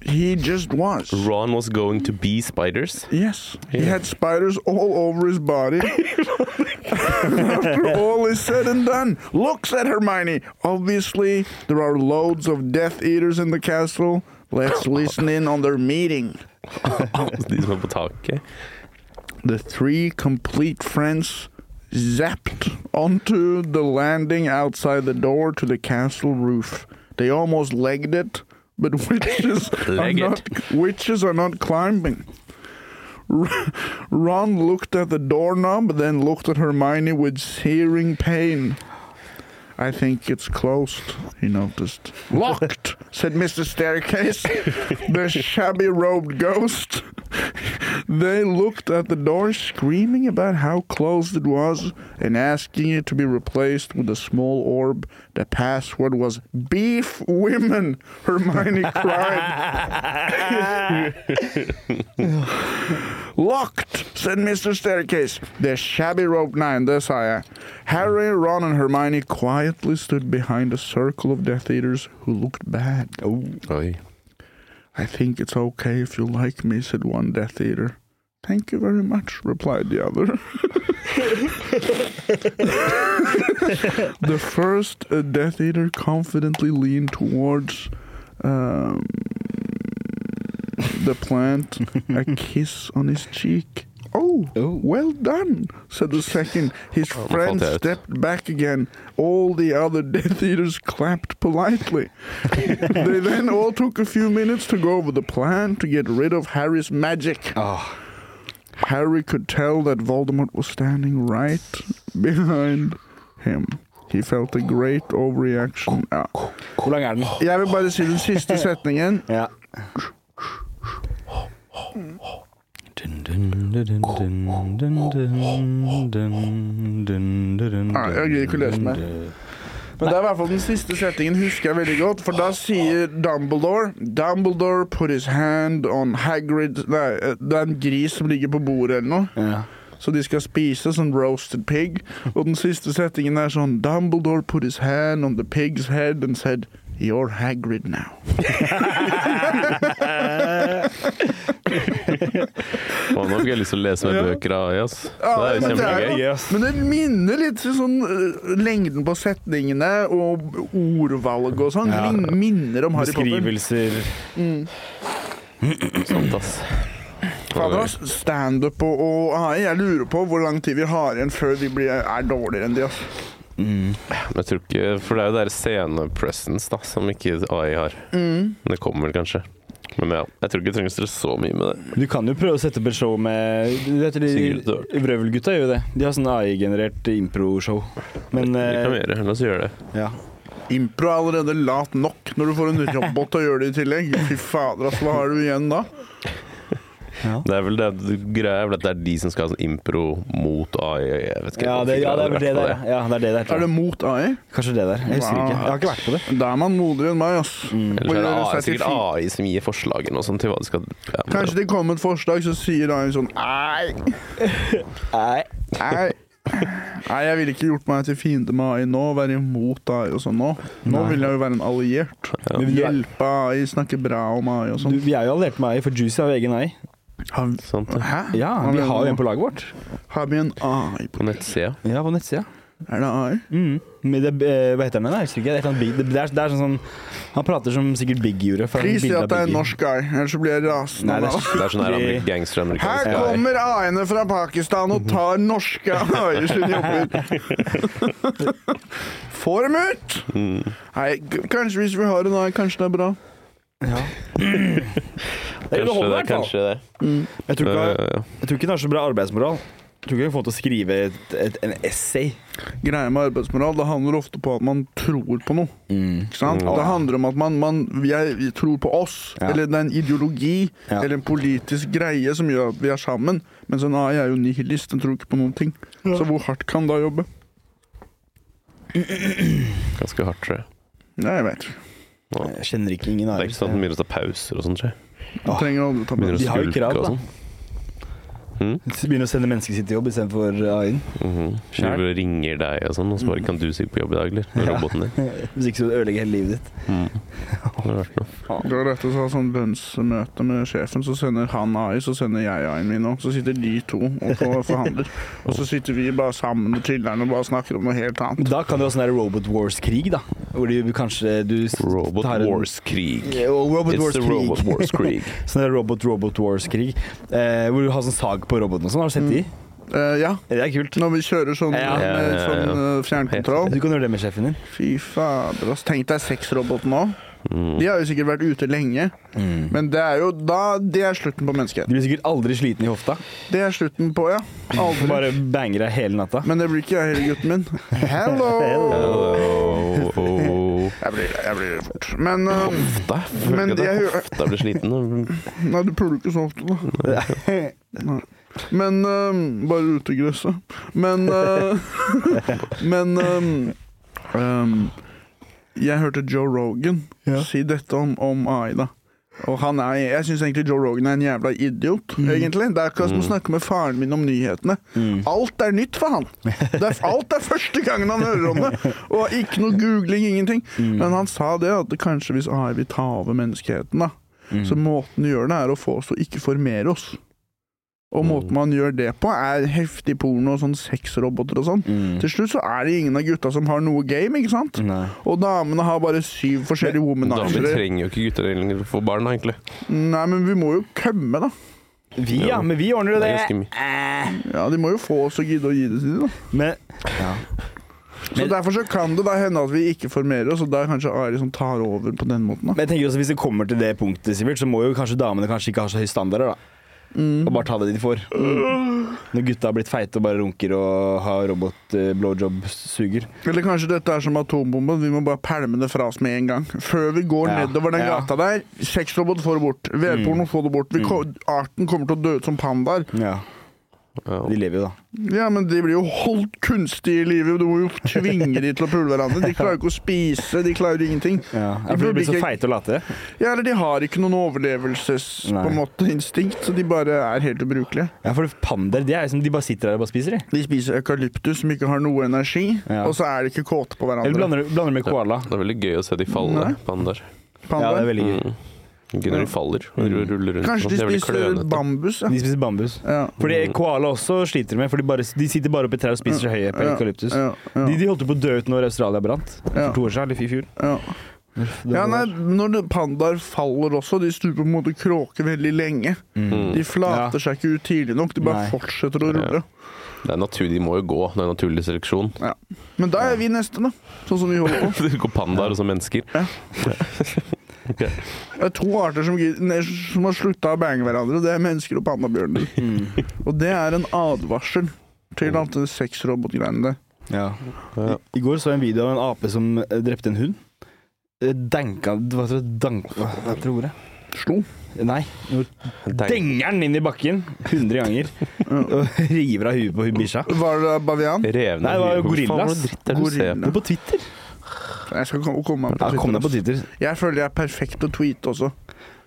B: He just was.
A: Ron was going to be spiders.
B: Yes. He had spiders all over his body. After all is said and done, looks at Hermione. Obviously, there are loads of Death Eaters in the castle. Let's listen in on their meeting.
A: De som er på taket.
B: The three complete friends zapped onto the landing outside the door to the castle roof. They almost legged it, but witches are
A: Leg it.
B: not witches are not climbing. R- Ron looked at the doorknob, then looked at Hermione with searing pain. I think it's closed, he noticed. Locked, said Mr. Staircase, the shabby robed ghost. They looked at the door, screaming about how closed it was and asking it to be replaced with a small orb. The password was Beef Women, Hermione cried. Locked, said Mr. Staircase. The shabby rope nine, det sa jeg. Harry, Ron and Hermione quietly stood behind a circle of Death Eaters who looked bad.
A: Oi.
B: I think it's okay if you like me, said one Death Eater. Thank you very much, replied the other. the first uh, Death Eater confidently leaned towards um, the plant, a kiss on his cheek. Oh,
C: Oh.
B: well done, said the second. His
A: Oh,
B: friend
A: fantastic.
B: stepped back again. All the other Death Eaters clapped politely. they then all took a few minutes to go over the plan to get rid of Harry's magic. Harry could tell that Voldemort was standing right behind him. He felt a great overreaction. Ja.
C: Hvor lang er den?
B: Jeg vil bare si den siste setningen.
C: Ja.
B: Nei, jeg gidder ikke å lese mer. Men det er i hvert fall den siste setningen husker jeg veldig godt, for da sier Dumbledore Dumbledore put his hand on Hagrid Nei, eh, det er en gris som ligger på bordet eller noe,
C: Ja.
B: så de skal spise sånn roasted pig. Og den siste setningen er sånn Dumbledore put his hand on the pig's head and said You're Hagrid now.
A: Og nå fikk jeg lyst til å lese mer
B: Ja.
A: bøker av Øyas. Det
B: Ja,
A: er
B: men det er
A: kjempegøy.
B: jo-
C: Gøy, ass.
B: Men det minner litt til sånn øh, lengden på setningene og ordvalg og sånn.
C: Ja.
B: Lin- Minner om Harry Potter.
C: Beskrivelser
A: Sant, ass.
B: Fader, ass. Standup og, og AI. Jeg lurer på hvor lang tid vi har igjen før vi blir, er dårligere enn de. Ass.
C: Mm.
A: Men jeg tror ikke For det er jo der scene-presence da som ikke AI har. Men det kommer vel kanskje. Men ja, jeg tror ikke jeg trenger å stresse så mye med det.
C: Du kan jo prøve å sette opp et show med du vet,
A: Sigurd
C: de,
A: Døhl.
C: Vrøvelgutta gjør jo det. De har sånn AI-generert impro-show. Men
A: Det kan vi
C: eh,
A: gjøre. La oss gjøre det.
C: ja.
B: Impro er allerede lat nok når du får en robot til å gjøre det i tillegg. Fy fader, ass. Hva har du igjen da?
A: Det er vel det greia er vel at det er de som skal ha sånn impro mot AI. Jeg vet ikke
C: Ja, det, ja, det er vel det der. Ja, det er det der.
B: Er
C: tror
B: det
C: jeg.
B: mot AI?
C: Kanskje det der. Jeg husker
B: Wow.
C: ikke. Jeg har ikke vært på det.
B: Da er man modigere enn meg, ass.
A: Mm. Eller så er det
B: Og gjør
A: AI,
B: seg til
A: sikkert AI som gir forslagene og sånn til hva de skal ja, men-
B: Kanskje det kommer et forslag, så sier AI sånn Ei,
C: Nei.
B: Nei. Nei, jeg ville ikke gjort meg til fiende med AI nå, være imot AI og sånn nå. Nå
C: Nei.
B: vil jeg jo være en alliert.
C: Men vi, er,
B: Hjelpe AI, snakke bra om AI og
C: du,
B: sånn.
C: vi er jo alliert med AI, for Juicy har jo egen AI.
B: Har-
A: Sant, ja.
B: Hæ?
C: Ja, vi har jo en på laget vårt.
B: Har vi en AI på
A: På nettsida.
C: Ja, på nettsida.
B: Er det AI?
C: Mm. Men det, eh, hva heter den? Jeg husker ikke. Det er, et eller annet big, det, det er, det er sånn, sånn Han prater som sikkert Big gjorde. for han
B: Please si
C: bildet
B: at det er
C: Biggie.
B: en norsk AI, ellers så blir jeg rasende.
C: Nei, det
B: av
C: er
A: Det
B: det.
A: er sånn her amer-
B: Her
A: gangsteramerikansk AI.
B: kommer AI-ene fra Pakistan og tar norske AI-er sine jobber. Få dem ut!
C: Mm.
B: Nei, k- kanskje hvis vi har en AI, kanskje det er bra.
C: Ja. det er underholdende,
A: Kanskje
C: i hvert
A: det.
C: fall.
A: Kanskje Eh. det.
C: Jeg tror ikke
A: Ja, ja, ja.
C: Jeg tror ikke den har så bra arbeidsmoral. Jeg tror ikke hun får til å skrive et, et, en essay.
B: Greia med arbeidsmoral, det handler ofte på at man tror på noe. Ikke sant?
C: Mm.
B: Det handler om at man, man jeg, vi tror på oss,
C: Ja.
B: eller det er en ideologi
C: Ja.
B: eller en politisk greie som gjør at vi er sammen. Mens en AI er jo nihilist, den tror ikke på noen ting. Så hvor hardt kan da jobbe?
A: Ganske hardt, tror jeg.
B: Nei, jeg vet ikke.
C: Jeg kjenner ikke ingen
A: Det er
C: Arild.
A: ikke sånn at den begynner å ta pauser og sånn, tror jeg.
B: Du trenger aldri ta
A: Begynner
B: med
A: å
C: De har jo krav,
A: skulke og
C: da.
A: sånn.
C: Begynner å sende mennesker sitt til jobb istedenfor AI-en.
A: Mhm.
C: Skjær.
A: Driver og ringer deg og sånn, og så bare kan du sikkert på jobb i dag, eller? Med roboten din.
C: Hvis ikke så ødelegger hele livet ditt.
A: Mm. Det hadde vært noe.
B: Det var rett og slett sånn lønnsmøte med sjefen, så sender han AI, så sender jeg AI-en min òg. Så sitter de to og får- forhandler. Og så sitter vi bare sammen med chiller'n og bare snakker om noe helt annet.
C: Da kan du ha sånn der Robot Wars-krig, da. Hvor du kanskje du s-
A: Robot
C: tar en-
A: Wars-krig.
C: Ja, og Robot
A: It's
C: Wars
A: the Robot
C: Krig.
A: Wars-krig.
C: Sånn der Robot Robot Wars-krig. Eh, hvor du har sånn sag på roboten og sånn. Har du sett de?
B: Eh, ja,
C: Det er kult.
B: når vi kjører sånn,
C: Ja.
A: Ja,
B: med
A: ja, ja.
B: sånn eh, fjernkontroll.
C: Du kan gjøre det med sjefen din.
B: Fy fader, ass. Tenk deg sexroboten òg.
A: Mm.
B: De har jo sikkert vært ute lenge. Men det er jo da Det er slutten på
C: Du
B: menneskeheten.
C: blir sikkert aldri sliten i hofta.
B: Det er slutten på, ja. Aldri.
C: Bare banger deg hele natta.
B: Men det blir ikke jeg heller, gutten min. Hello!
A: Hello. oh.
B: Jeg blir jeg blir fort. Men eh,
A: Hofta? Føler
B: Men
A: ikke at
B: jeg
A: jeg
B: hører-
A: hofta blir sliten. da.
B: Nei, du puler ikke så ofte, da. Men øhm, Bare ute i gresset. Men øh, Men øhm, øhm, Jeg hørte Joe Rogan
C: Ja.
B: si dette om, om AI, da. Og han er, jeg syns egentlig Joe Rogan er en jævla idiot, egentlig. Det er akkurat som å snakke med faren min om nyhetene.
C: Mm.
B: Alt er nytt for han. Det er, alt er første gangen han hører om det! Og ikke noe googling, ingenting.
C: Mm.
B: Men han sa det, at kanskje hvis AI vil ta over menneskeheten, da,
C: Mm.
B: så måten du gjør det, er å få oss til å ikke formere oss. Og
C: Mm.
B: måten man gjør det på, er heftig porno og sånn sexroboter og sånn.
C: Mm.
B: Til slutt så er det ingen av gutta som har noe game, ikke sant?
C: Nei.
B: Og damene har bare syv forskjellige
A: Damer
B: womanizere.
A: trenger jo ikke gutter lenger for barn, da, egentlig.
B: Nei, men vi må jo kømme, da.
C: Vi, ja. Men vi ordner jo
A: Det
C: det.
A: er ganske mye.
C: Eh.
B: Ja, de må jo få oss å gidde å gi det til dem, da.
C: Men ja.
B: Så
C: Men-
B: derfor så kan det da hende at vi ikke formerer oss, og da kanskje Ari som tar over på den måten, da.
C: Men jeg tenker også hvis det kommer til det punktet, Sivert, så må jo kanskje damene kanskje ikke ha så høye standarder. da Og bare ta det de får. Når gutta har blitt feite og bare runker og har robot-blowjob-suger.
B: Eller kanskje dette er som atombomben, vi må bare pælme det fra oss med en gang. Før vi går
C: Ja.
B: nedover den
C: Ja. Mm.
B: gata der, sexrobot får det bort. Vedporno får det bort. Vi ko arten kommer til å dø ut som pandaer.
C: Ja,
A: Ja.
C: de lever jo, da.
B: Ja, men de blir jo holdt kunstig i livet. Du må jo tvinge de til å pule hverandre. De klarer jo ikke å spise, de klarer jo ingenting.
C: Ja. for
B: De
C: de
B: burde
C: blir så
B: ikke-
C: feite og late.
B: Ja, eller de har ikke noen overlevelses
C: Nei.
B: på en måte instinkt, så de bare er helt ubrukelige.
C: Ja, for pander de er liksom, de bare sitter der og bare spiser, de.
B: De spiser eukalyptus som ikke har noe energi,
C: Ja.
B: og så er de ikke kåte på
C: Eller
B: hverandre.
C: blander, blander med koala.
A: Det er veldig gøy å se de falle,
B: Nei.
C: Ja,
A: pandaer.
C: det
B: Pandaer.
C: er veldig gøy.
A: Mm. Gøy når de faller og
C: Mm.
A: ru- ruller rundt.
B: Kanskje de
A: Det er veldig
B: spiser
A: klønete.
B: bambus, ja.
C: De spiser bambus.
B: ja.
C: Fordi koala også sliter de med, for de, bare, de sitter bare oppi trær og spiser seg høye på
B: Mm. Ja,
C: eukalyptus.
B: Ja, ja,
C: De, de holdt jo på å dø ut når Australia brant for
B: Ja.
C: to år siden. Eller i fjor.
B: ja.
C: Det
B: ja,
C: var-
B: nei, når det- pandaer faller også, de stuper på en måte kråker veldig lenge.
A: Mm.
B: De flater seg ikke ut tidlig nok, de bare
C: Nei.
B: fortsetter å rulle.
A: Det er natur, de må jo gå. Det er naturlig seleksjon.
B: Men da er vi neste, da. Sånn som vi holder på.
A: Det går pandaer og så mennesker.
B: Det er to arter som, gid- nei, som har slutta å bange hverandre. Det er mennesker og pandabjørner.
C: Mm.
B: Og det er en advarsel til alt det sexrobotgreiene der.
C: Ja. I,
A: Ja.
C: I går så jeg en video av en ape som eh, drepte en hund. Eh, Danka Hva heter det? Dank... Hva heter ordet?
B: Slo.
C: Nei. nå
A: Tenk.
C: Denger den inn i bakken 100 ganger og river av huet på hun bikkja.
B: Var det bavian?
A: Revne
C: Nei, det var jo
A: Hvorfor faen
C: gorillas.
A: var det dritt der du ser
B: Gorilla.
A: på?
C: Det er på Twitter.
B: Jeg skal komme, komme meg
C: Ja, kom deg
B: på
C: på
B: Twitter.
C: Twitter.
B: ass. Jeg føler jeg er perfekt til å tweete også.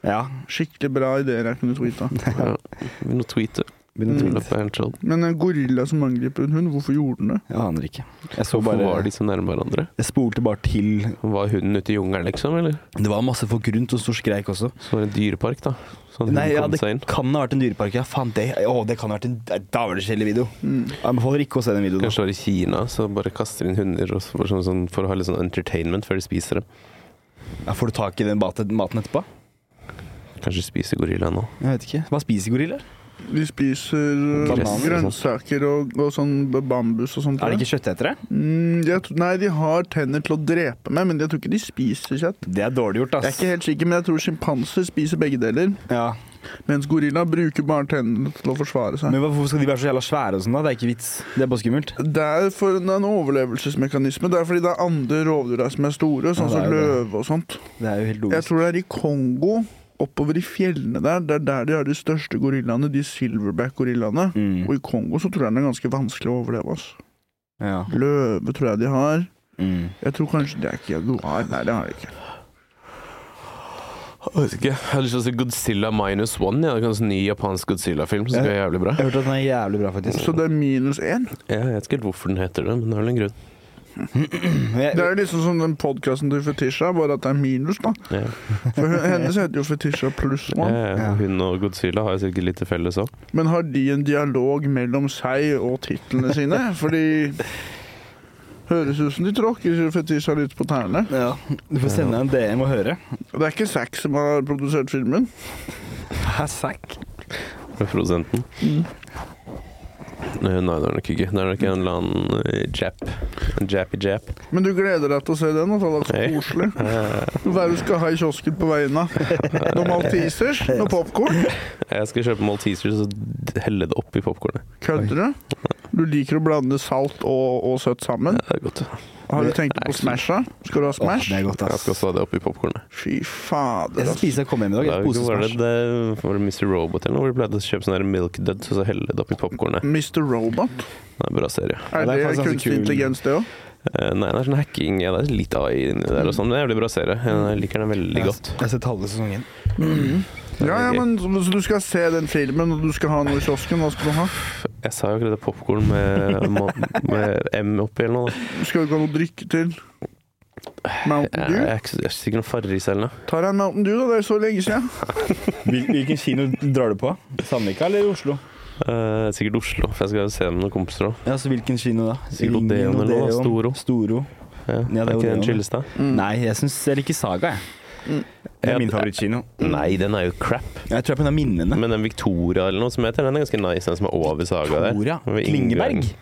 C: Ja.
B: Skikkelig bra ideer jeg kunne tweeta.
A: Ja. Begynn å tweete.
C: Begynn å
A: Tull
C: tweete.
A: opp er helt sånn.
B: Men en gorilla som angriper en hund, hvorfor gjorde den det?
C: Jeg aner ikke. Jeg så
A: Hvorfor var
C: bare
A: de så nærme hverandre?
C: Jeg spolte bare til
A: Var hunden ute i jungelen, liksom? Eller
C: Det var masse folk rundt og stor skreik også.
A: så var det en dyrepark, da? Så hunden
C: Nei, ja,
A: kom
C: det
A: seg inn.
C: kan ha vært en dyrepark. Ja, faen, det, å, det kan ha vært en Da var det kjedelig video. Jeg anbefaler ikke å se den videoen.
A: Kanskje det var i Kina, så bare kaster inn hunder og så bare sånn, sånn, for å ha litt sånn entertainment før de spiser dem.
C: Ja, får du tak i den maten maten etterpå?
A: Kanskje spiser gorillaen nå.
C: Jeg vet ikke. Hva spiser gorillaer?
B: De spiser uh,
A: Gress og sånt.
B: grønnsaker og, og sånn bambus og sånt.
C: altså. Er det ikke kjøttetere?
B: Mm, jeg, tr- nei, de har tenner til å drepe med, men jeg tror ikke de spiser kjøtt.
C: Det er dårlig gjort,
B: Jeg er
C: ass.
B: ikke helt sikker, men jeg tror sjimpanser spiser begge deler.
C: Ja.
B: Mens gorilla bruker bare tennene til å forsvare seg.
C: Men hvorfor skal de være så jævla svære og sånn, da? Det er ikke vits. Det er bare skummelt.
B: Det er, for, det er en overlevelsesmekanisme. Det er fordi det er andre rovdyr der som er store, sånn
C: Ja, det
B: som
C: er jo det.
B: løve og sånt.
C: Det er jo helt
B: Jeg
C: logisk.
B: tror det er i Kongo, oppover i fjellene der. Det er der de har de største gorillaene, de silverback-gorillaene.
C: Mm.
B: Og i Kongo så tror jeg den er ganske vanskelig å overleve. altså. ass.
C: Ja.
B: Løve tror jeg de har.
C: Mm.
B: Jeg tror kanskje det er ikke jaguar. Nei, det har de ikke.
A: Jeg vet ikke. Jeg har lyst til å se Godzilla minus one. Ja. Det er en sånn ny japansk Godzilla-film som skal være jævlig bra.
C: Jeg hørte at den er jævlig bra, faktisk.
B: Så det er minus én.
A: Jeg vet ikke helt hvorfor den heter det, men det er vel en grunn.
C: Jeg,
B: Det er jo liksom som den podkasten til Fetisha, bare at det er minus, da.
A: Ja.
B: For hun- hennes heter jo Fetisha pluss
A: Ja,
B: one.
A: ja. Hun og Godzilla har jo sikkert litt til felles òg.
B: Men har de en dialog mellom seg og titlene sine? Fordi Høres ut som de tråkker Fetisha litt på tærne.
C: ja. Du får sende en DM og høre.
B: Det er ikke Zack som har produsert filmen.
C: Hæ, sack?
A: Produsenten. Eh, Nei, nei, det er nok ikke. Det er nok en eller annen eh, jap. En jappy-jap.
B: Men du gleder deg til å se den? At det er så
A: Hei.
B: koselig.
A: Eh,
B: Hva er det du skal ha i kiosken på veien av? Noen maltesers? Noe popkorn?
A: Jeg skal kjøpe Maltesers og d- helle det oppi popkornet.
B: Kødder du? Du liker å blande salt og, og søtt sammen?
A: Det er godt.
B: Har du tenkt på Smasha? Skal du ha
C: Åh,
B: Smash?
C: det er godt,
A: Jeg
C: ass.
A: skal også ha det oppi popkornet.
B: Fy
C: Jeg
B: fader,
C: skal
B: ass.
C: spise og komme hjem i dag.
A: Det er
C: Et
A: jo ikke- Var det,
C: posesmash.
A: det, var det Mr. Robot eller noe? Hvor de pleide å kjøpe sånn der Milk Dud og så helle det oppi popkornet.
B: Mr. Robot?
A: Det er en bra serie.
B: Er
C: Ja, det er
B: det
C: faktisk ganske
B: kunstig
C: kul.
B: intelligens, det òg?
A: Eh, Nei, det er sånn hacking. Ja, det er litt AI inni der og sånn. men Det er en jævlig bra serie. Jeg liker den veldig godt.
C: Jeg har sett halve sesongen.
B: Mm. Ja, ja,
A: gøy.
B: men så, så du skal se den filmen, og du skal ha noe i kiosken. Hva skal du ha?
A: Jeg sa jo akkurat det popkorn med, ma- med M oppi eller noe. da.
B: Du skal jo ikke ha noe å drikke til. Mountain
A: Jeg
B: Dew?
A: er ikke- jeg er sikkert noe Farris eller noe.
B: Tar jeg en Mountain Dew, da? Det er så lenge siden.
C: Hvil- Hvilken kino drar du på? Sandvika eller Oslo?
A: Eh, sikkert Oslo, for jeg skal jo se med noen kompiser òg.
C: Ja, så Hvilken kino da?
A: Sikkert Odeon
C: Ingen
A: eller noe, da.
C: Odeon.
A: Storo.
C: Storo.
A: Ja,
C: det er
A: er
C: jo
A: ikke
C: det,
A: den
C: da.
A: chilleste? Mm.
C: Nei, jeg syns Jeg liker Saga, jeg. er
A: Ja,
C: min
A: det-
C: favorittkino.
A: Nei, den er jo crap.
C: Jeg tror jeg er på den av minnene.
A: Men den Victoria eller noe som heter, den er ganske nice, den som er over Saga der.
C: Victoria
A: Ved
C: Klingeberg?
A: inngangen.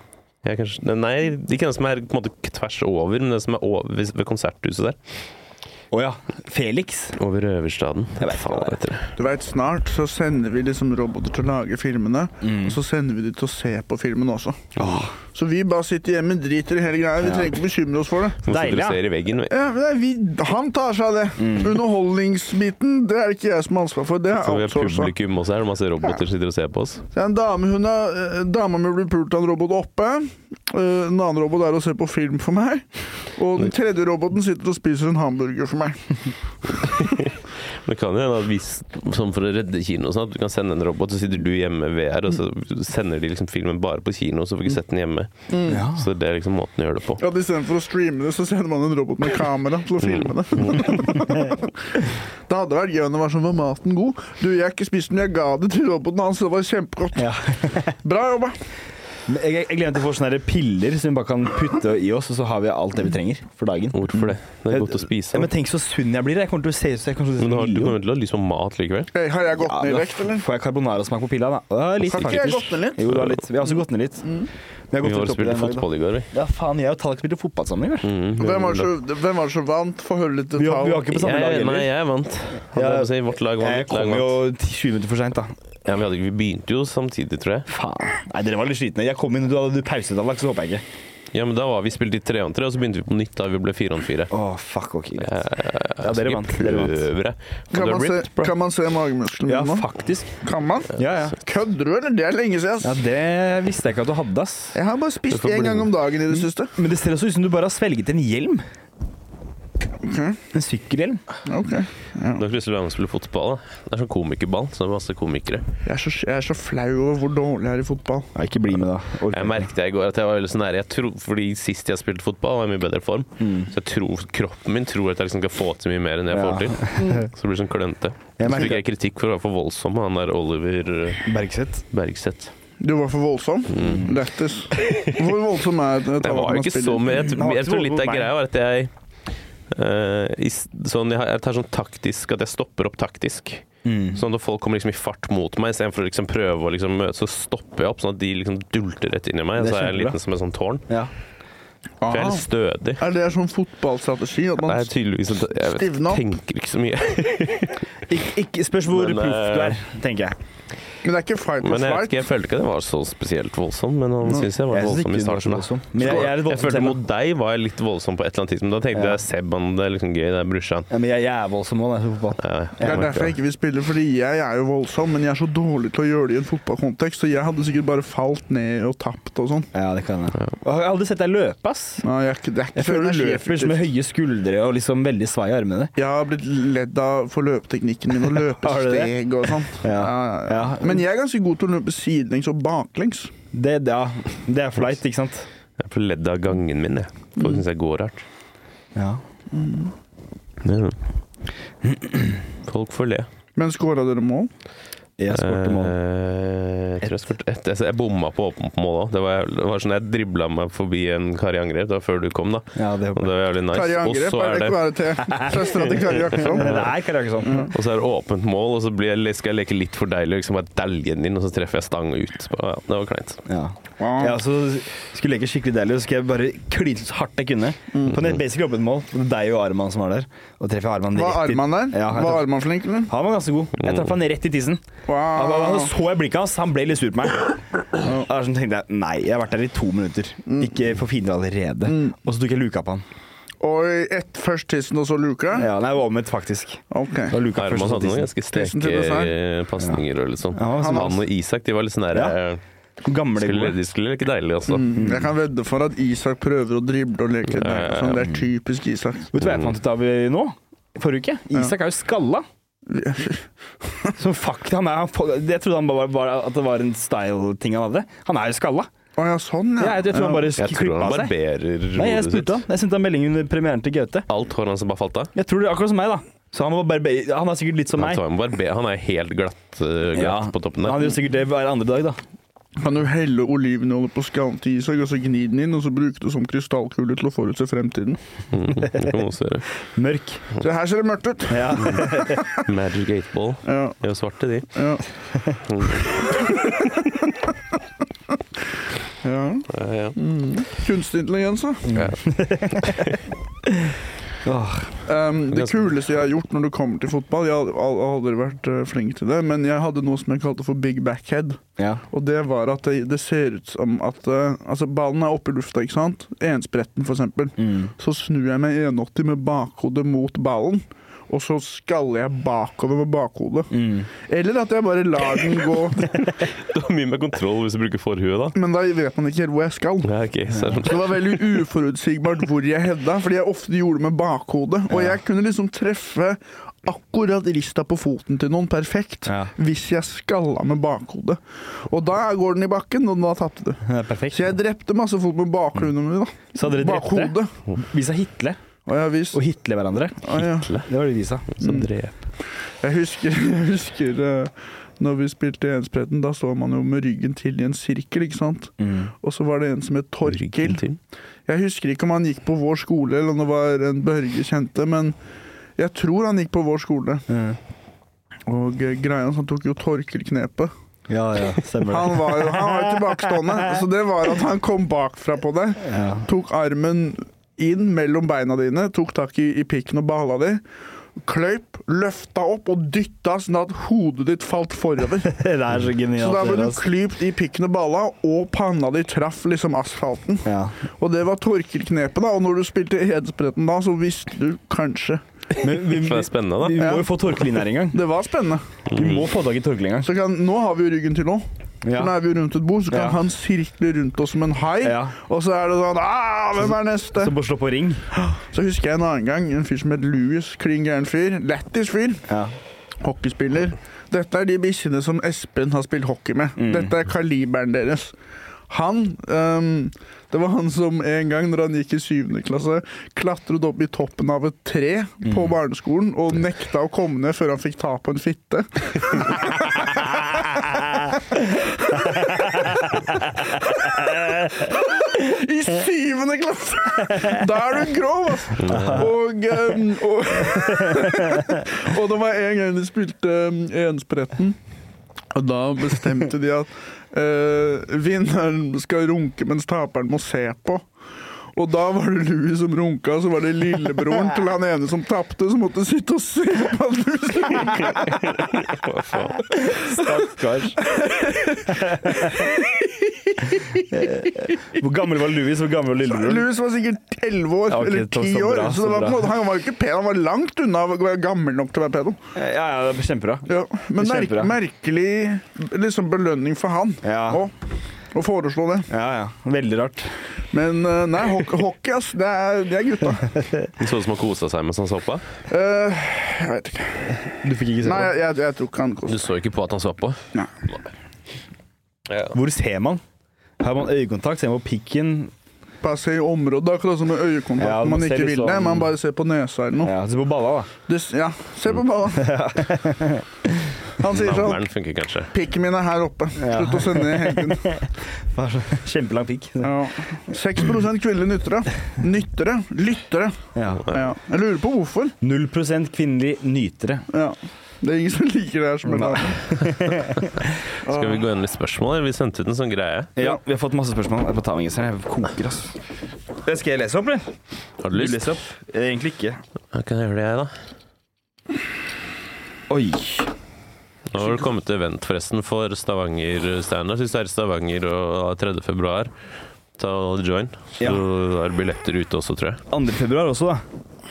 A: Ja, kanskje, den- nei, ikke den som er på en måte tvers over, men den som er over, ved ved konserthuset der.
C: Å ja. Felix.
A: Over Røverstaden.
C: Jeg vet
A: Faen,
C: hva det
A: vet dere.
B: Du vet, Snart så sender vi liksom roboter til å lage filmene,
C: Mm.
B: og så sender vi de til å se på filmen også. Så vi bare sitter hjemme, driter i hele greia. Vi trenger ikke bekymre oss for det.
A: Som
C: Deilig, ja.
A: sitter og ser i veggen.
B: Ja, men det er vi, han tar seg av det. Underholdningsbiten det er det ikke jeg som har ansvar for. Det er
A: Så vi har
B: outsourca.
A: publikum også her, masse roboter sitter og ser på oss.
B: Det er en dame hun er, eh, dama mi blir pult av en robot oppe. Eh, En annen robot er å se på film for meg. Og den tredje roboten sitter og spiser en hamburger for meg.
A: Det kan jo hende at hvis, sånn for å redde kino og sånn, at du kan sende en robot, så sitter du hjemme ved her, og så sender de liksom filmen bare på kino, så får vi ikke sett den hjemme.
C: Mm. Ja.
A: Så det er liksom måten å gjøre det på.
B: At Istedenfor å streame det, så sender man en robot med kamera til å filme det. det hadde vært gøy om det var sånn Var maten god? Du, jeg har ikke spist den, jeg ga det til roboten hans, det var kjempegodt.
C: Ja.
B: Bra jobba.
C: Men Jeg, jeg, jeg glemte å få sånne der piller som vi bare kan putte i oss, og så har vi alt det vi trenger for dagen.
A: Hvorfor det? Det er godt å
C: Ja,
A: spise.
C: men tenk så sunn jeg blir. Jeg kommer til å se ut som jeg kommer til å se ut som
A: Men du, har, du
C: Leo.
A: kommer til å ha lyst på mat likevel?
B: Hey, har jeg gått
C: Ja,
B: ned i
C: da
B: vekt, eller?
C: Får jeg carbonarasmak på pilla, da? Ja, litt,
B: Har ikke jeg gått
C: faktisk.
B: ned litt? Mm.
C: Jo, du har litt. Vi har også gått ned litt. Vi har gått
A: Vi har
C: litt opp i
A: spilt
C: den dagen.
A: fotball i går, vi.
C: Ja, faen, jeg og Tallak spilte fotball sammen i går.
A: Mm, vi
B: Hvem
A: har-
B: var det som- hvem var det som vant? Få høre litt
C: Vi var, vi
B: detalj.
C: var ikke på samme lag
A: jeg, nei,
C: heller.
A: jeg vant.
C: Ja,
A: Jeg, si, vårt lag vant.
C: Jeg
A: mitt lag
C: kom jo
A: vant.
C: 20 minutter for seint, da.
A: Ja, men vi, hadde, ikke- vi begynte jo samtidig, tror jeg.
C: Faen. Nei, dere var litt slitne. Jeg kom inn, og du hadde pause, Tallak, så håper jeg ikke.
A: Ja, men Da var vi spilt i tre on tre, og så begynte vi på nytt da vi ble fire on fire.
C: Å, fuck, ok, greit.
A: Ja,
C: Ja, dere vant, dere vant.
B: Kan man, se, kan man se magemusklene
C: Ja,
B: mine nå?
C: faktisk.
B: Kan man?
C: Mm, Ja, ja.
B: Kødder du, eller? Det er lenge siden.
C: Ja,
B: ass.
C: Det visste jeg ikke at du hadde, ass.
B: Jeg har bare spist
A: Du får
B: én
A: bli
B: gang
A: med.
B: om dagen i det siste.
C: Men det ser også ut som du bare har svelget en hjelm.
B: Ok.
C: En sykkelhjelm.
B: Ok.
A: Du har ikke lyst til å være med og spille fotball? da? Det er sånn komikerball, så det er masse komikere.
B: Jeg er, så, jeg er så flau over hvor dårlig jeg er i fotball.
C: Ja, ikke bli med, da. Orker
A: Jeg
C: ikke.
A: merket jeg i går at jeg var veldig så nære. Jeg tror, fordi sist jeg spilte fotball, var jeg i mye bedre form. Så jeg tror, kroppen min tror at jeg liksom kan få til mye mer enn jeg
C: Mm. Ja. Mm.
A: får til. Så det blir sånn klønete.
C: Jeg
A: Så
C: merker-
A: fikk jeg kritikk for å være for voldsom, han der Oliver eh,
C: Bergseth.
A: Bergseth.
B: Du var for voldsom. Lættis. Hvor voldsom er det?
A: Det var jo ikke så mye. Jeg,
C: Han
A: tror-
C: var
A: jeg tror
C: ikke
A: litt av
C: voldsom,
A: greia var at jeg eh, i, s- sånn, jeg, har- jeg tar sånn taktisk at jeg stopper opp taktisk.
C: Mm.
A: Sånn at folk kommer liksom i fart mot meg, istedenfor å liksom prøve å liksom møte, så stopper jeg opp. Sånn at de liksom dulter rett inn i meg.
C: Det er
A: Så er jeg
C: kjempebra. Ah.
A: liten som et sånn tårn.
C: Ja.
A: For jeg er litt stødig.
B: Ah. Er det sånn fotballstrategi? At
A: Det
B: man
A: er tydeligvis at Jeg vet,
B: Stivne opp.
A: tenker ikke så mye.
C: Ikke, ikke spørs hvor
A: Men,
C: proff du
A: eh,
C: er, tenker jeg.
B: Men det er ikke fight or
A: Men jeg, vet
B: flight?
A: ikke, jeg følte ikke det var så spesielt voldsom, men han synes jeg var
C: Jeg synes
A: voldsom i
C: ikke du var så
A: starten. da.
C: voldsom. Men jeg, jeg er litt
A: Jeg
C: voldsom
A: følte
C: selv.
A: mot deg var jeg litt voldsom på et eller annet tidspunkt. Da tenkte
C: Ja.
A: jeg Seb, han, det er liksom gøy, det er brorsan.
C: Ja, men jeg, jeg er voldsom òg, da. på fotball.
A: Ja,
B: Det er derfor jeg ikke vil spille, fordi jeg er jo voldsom, men jeg er så dårlig til å gjøre det i en fotballkontekst, så jeg hadde sikkert bare falt ned og tapt og sånn.
C: Ja, det kan jeg. Og Jeg har aldri sett deg løpe, ass.
B: Nei, jeg, er ikke- det er ikke
C: Jeg føler du løper
B: energieffektivt.
C: liksom med høye skuldre og liksom veldig svai i armene.
B: Jeg har blitt ledd av for løpeteknikken min og
C: Har du det?
B: løpesteg og sånt.
C: Ja. Ja.
B: Men jeg er ganske god til å løpe sidelengs og baklengs.
C: Det, ja, det er flight, ikke sant?
A: Jeg får ledd av gangen min, jeg.
B: Mm.
A: Folk syns jeg går rart.
C: Ja.
A: Ja. Folk får le.
B: Men skåra dere mål?
C: Jeg skårte mål.
A: Eh, jeg tror jeg skåret ett. Jeg, jeg bomma på åpent mål òg. Det, var- det var sånn jeg dribla meg forbi en Kari Angrer da, før du kom, da.
C: Ja, det
A: Og
C: håper jeg.
A: det var jævlig nice.
B: Kari Angrep
A: Og så
B: er
A: er
B: det
A: det
B: ikke bare til søstera til Kari Jakobsson.
C: Men det er sånn. Karakeson.
A: Og så er det åpent mål, og så blir jeg, skal jeg leke litt for deilig. Liksom bare dælje den inn, og så treffer jeg stang og ut. Ja, det var kleint.
C: Ja.
B: Wow.
C: ja, så skulle jeg ikke skikkelig deilig, så skulle jeg bare kline så hardt jeg kunne.
B: Mm.
C: På en helt basic åpent mål. Det er deg og Arman som var der. Og treffer Arman
B: Var
C: rett i
B: Arman der?
C: Ja, jeg
B: Var
C: traff-
B: Arman flink, eller?
C: Han var ganske god. Jeg traff han rett i tissen. Han var-
B: Wow.
C: han så jeg blikket hans, han ble litt sur på meg. Og da sånn tenkte jeg nei, jeg har vært der i to minutter.
B: Mm.
C: Ikke for fiender allerede. Og så tok jeg luka på han.
B: Og ett først tissen, og så luka?
C: Ja, nei, det var omvendt, faktisk.
B: Ok.
C: Det var luka først
A: Herman
C: og så
A: hadde
C: tissen.
A: noen sånn, ganske
B: Tusen til
A: sterke pasninger og litt sånn.
C: Ja,
A: Han
C: han
A: og Isak de var litt sånn der
C: Ja. Gamle
A: skulle,
C: gode. Mm.
A: De skulle leke deilig altså. også.
B: Jeg kan vedde for at Isak prøver å drible og leke litt mer. Sånn, det er typisk Isak.
C: Vet du hva jeg fant ut av eh, nå? Forrige uke? Isak er jo skalla. Som fuck, han er, han, fo- jeg trodde han bare, bare at det var en style-ting han hadde. Han er jo skalla.
B: Å ja, sånn,
C: Jeg,
B: ja.
C: jeg tror han bare
A: Jeg tror han
C: klippa seg.
A: barberer
C: Nei, jeg
A: hodet
C: spurte han.
A: sitt.
C: Jeg sendte han melding under premieren til Gaute.
A: Alt håret hans som bare falt av.
C: Jeg tror det er akkurat som meg, da. Så han, var barber- han er sikkert litt som
A: Han,
C: meg.
A: tar en barber, han er helt glatt, øh, glatt
C: Ja.
A: på toppen
C: Han
A: der.
C: gjør sikkert det hver andre dag, da.
B: Kan du helle olivenolje på skallen til Isak, og så gni den inn, og så bruke det som krystallkule til å forutse fremtiden?
A: Mm, det kan man også gjøre.
C: Mørk.
B: Se, her ser det mørkt ut!
C: Ja.
A: Magic 8-ball.
B: Ja,
A: De var svarte, de.
B: ja,
A: Mm.
B: ja.
A: Ja, ja.
B: Mm. Kunstig intelligens, da.
A: Ja.
C: Åh.
B: Um, det
A: Ganske-
B: kuleste jeg har gjort når det kommer til fotball Jeg har al- aldri vært eh, flink til det, men jeg hadde noe som jeg kalte for big backhead.
C: Ja.
B: Og det var at det, det ser ut som at eh, Altså, ballen er oppe i lufta, ikke sant? Enspretten, for eksempel.
C: Mm.
B: Så snur jeg meg 180 med bakhodet mot ballen, og så skaller jeg bakover med bakhodet.
C: Mm.
B: Eller at jeg bare lar den gå,
A: Du har mye mer kontroll hvis du bruker forhuet, da.
B: men da vet man ikke helt hvor jeg skal.
A: Ja, ok, så er det
B: Så det var veldig uforutsigbart hvor jeg hedda, fordi jeg ofte gjorde det med bakhodet. Og jeg kunne liksom treffe akkurat rista på foten til noen perfekt
C: Ja.
B: hvis jeg skalla med bakhodet. Og da går den i bakken, og da tapte du.
C: Det er perfekt.
B: Så jeg drepte masse folk med bakgrunnen min, da.
C: Så hadde dere drept det?
B: Bakhodet.
C: Vi sa Hitle
B: Og jeg, vis,
C: og Hitle hverandre.
B: og jeg,
C: Det var det vi sa.
A: Så drep.
B: jeg husker, jeg husker eh, når vi spilte i Enspretten, da står man jo med ryggen til i en sirkel, ikke sant.
C: Mm.
B: Og så var det en som het Torkil.
A: Ryggen til.
B: Jeg husker ikke om han gikk på vår skole, eller om det var en Børge kjente, men jeg tror han gikk på vår skole.
C: Mm.
B: Og eh, greia hans, han tok jo torkelknepet.
C: Ja, ja, stemmer det.
B: Han var jo han var jo tilbakestående, så det var at han kom bakfra på deg,
C: Ja.
B: tok armen inn mellom beina dine, tok tak i, i pikken og bala di, kløyp, løfta opp og dytta sånn at hodet ditt falt forover.
C: Det er så
B: Mm. Så
C: genialt.
B: da ble
C: det,
B: du
C: altså.
B: klypt i pikken og balla, og panna di traff liksom asfalten.
C: ja.
B: Og det var torkelknepet, da. Og når du spilte Hedspretten da, så visste du kanskje.
C: Men vi,
A: Det
C: vi,
A: er spennende, da.
C: vi må
B: Ja.
C: jo få Torkel inn her en gang.
B: Det var spennende.
C: Vi må få tak i Torkel en gang.
B: Så kan, nå har vi jo ryggen til nå. Så nå
C: Ja.
B: er vi jo rundt et bord, så kan
C: Ja.
B: han sirkle rundt oss som en hai.
C: Ja.
B: Og så er det sånn «Ah, Hvem er neste?
C: Så bare slå på ring.
B: Så husker jeg en annen gang en fyr som het Louis. Klin gæren fyr. Lættis fyr.
C: Ja.
B: Hockeyspiller. Dette er de bikkjene som Espen har spilt hockey med. Dette er kaliberen deres. Han ehm, Det var han som en gang, når han gikk i syvende klasse, klatret opp i toppen av et tre på barneskolen og nekta å komme ned før han fikk ta på en fitte. I syvende klasse! Da er du grov, altså! Og, ehm, og og det var en gang de spilte um, enspretten, og da bestemte de at eh, vinneren skal runke mens taperen må se på. Og da var det Louis som runka, så var det lillebroren til han ene som tapte, som måtte sitte og se på at Louis runka.
A: Hva faen?
C: Stakkars. Hvor gammel var Louis? Hvor gammel var lillebroren?
B: Louis var sikkert 11 år,
C: Ja, ok,
B: eller
C: så- så
B: 10 år,
C: bra, så
B: så det var, på en
C: bra.
B: måte, han var jo ikke pen. Han var langt unna å være gammel nok til å være pedo.
C: Ja, ja, det er kjempebra.
B: Ja. Men merk,
C: Kjempebra.
B: merkelig liksom, belønning for han
C: Ja.
B: å å foreslå det.
C: Ja, ja. Veldig rart.
B: Men eh, nei, hockey, hockey ass, det er, det er gutta.
A: Det så ut som han kosa seg mens han så på.
B: Eh, jeg vet ikke.
C: Du fikk ikke se på.
B: Nei, jeg, jeg, jeg tror ikke han
A: Du
B: koster
A: så ikke på at han så på?
B: Nei.
A: Ja.
C: Hvor ser man? Har man øyekontakt? Ser man på pikken?
B: Passe i området, det er akkurat som med øyekontakt
C: Ja,
B: man
C: man ser
B: ikke vil
C: liksom-
B: det. Man bare ser på nesa eller noe.
C: Ja, Se på balla, da.
B: Det, s- ja, se på ballen. Han sier sånn
A: Navlen funker kanskje.
B: Pikken min er her oppe.
C: Ja.
B: Slutt å sende ned hengen.
C: Bare så- Kjempelang pikk.
B: Ja. 6 kvinnelige nyttere. Nyttere. Lyttere.
C: Ja.
B: Ja. Jeg lurer på hvorfor.
C: 0 kvinnelige nytere.
B: Ja. Det er ingen som liker det her som en
C: Nei.
B: annen.
A: Skal vi gå gjennom litt spørsmål? eller? Vi sendte ut en sånn greie.
C: Ja, vi har fått masse spørsmål. Jeg må ta meg en Jeg koker, ass. Skal jeg lese opp, eller?
A: Har du lyst?
C: opp? Eh, Egentlig ikke.
A: Ja, kan jeg gjøre det, jeg, da?
C: Oi.
A: Nå har du kommet til event, forresten, for Stavanger Standup. Hvis du er i Stavanger og 3. februar, ta og join. Så
C: Ja.
A: er det billetter ute også, tror jeg.
C: 2. februar også, da.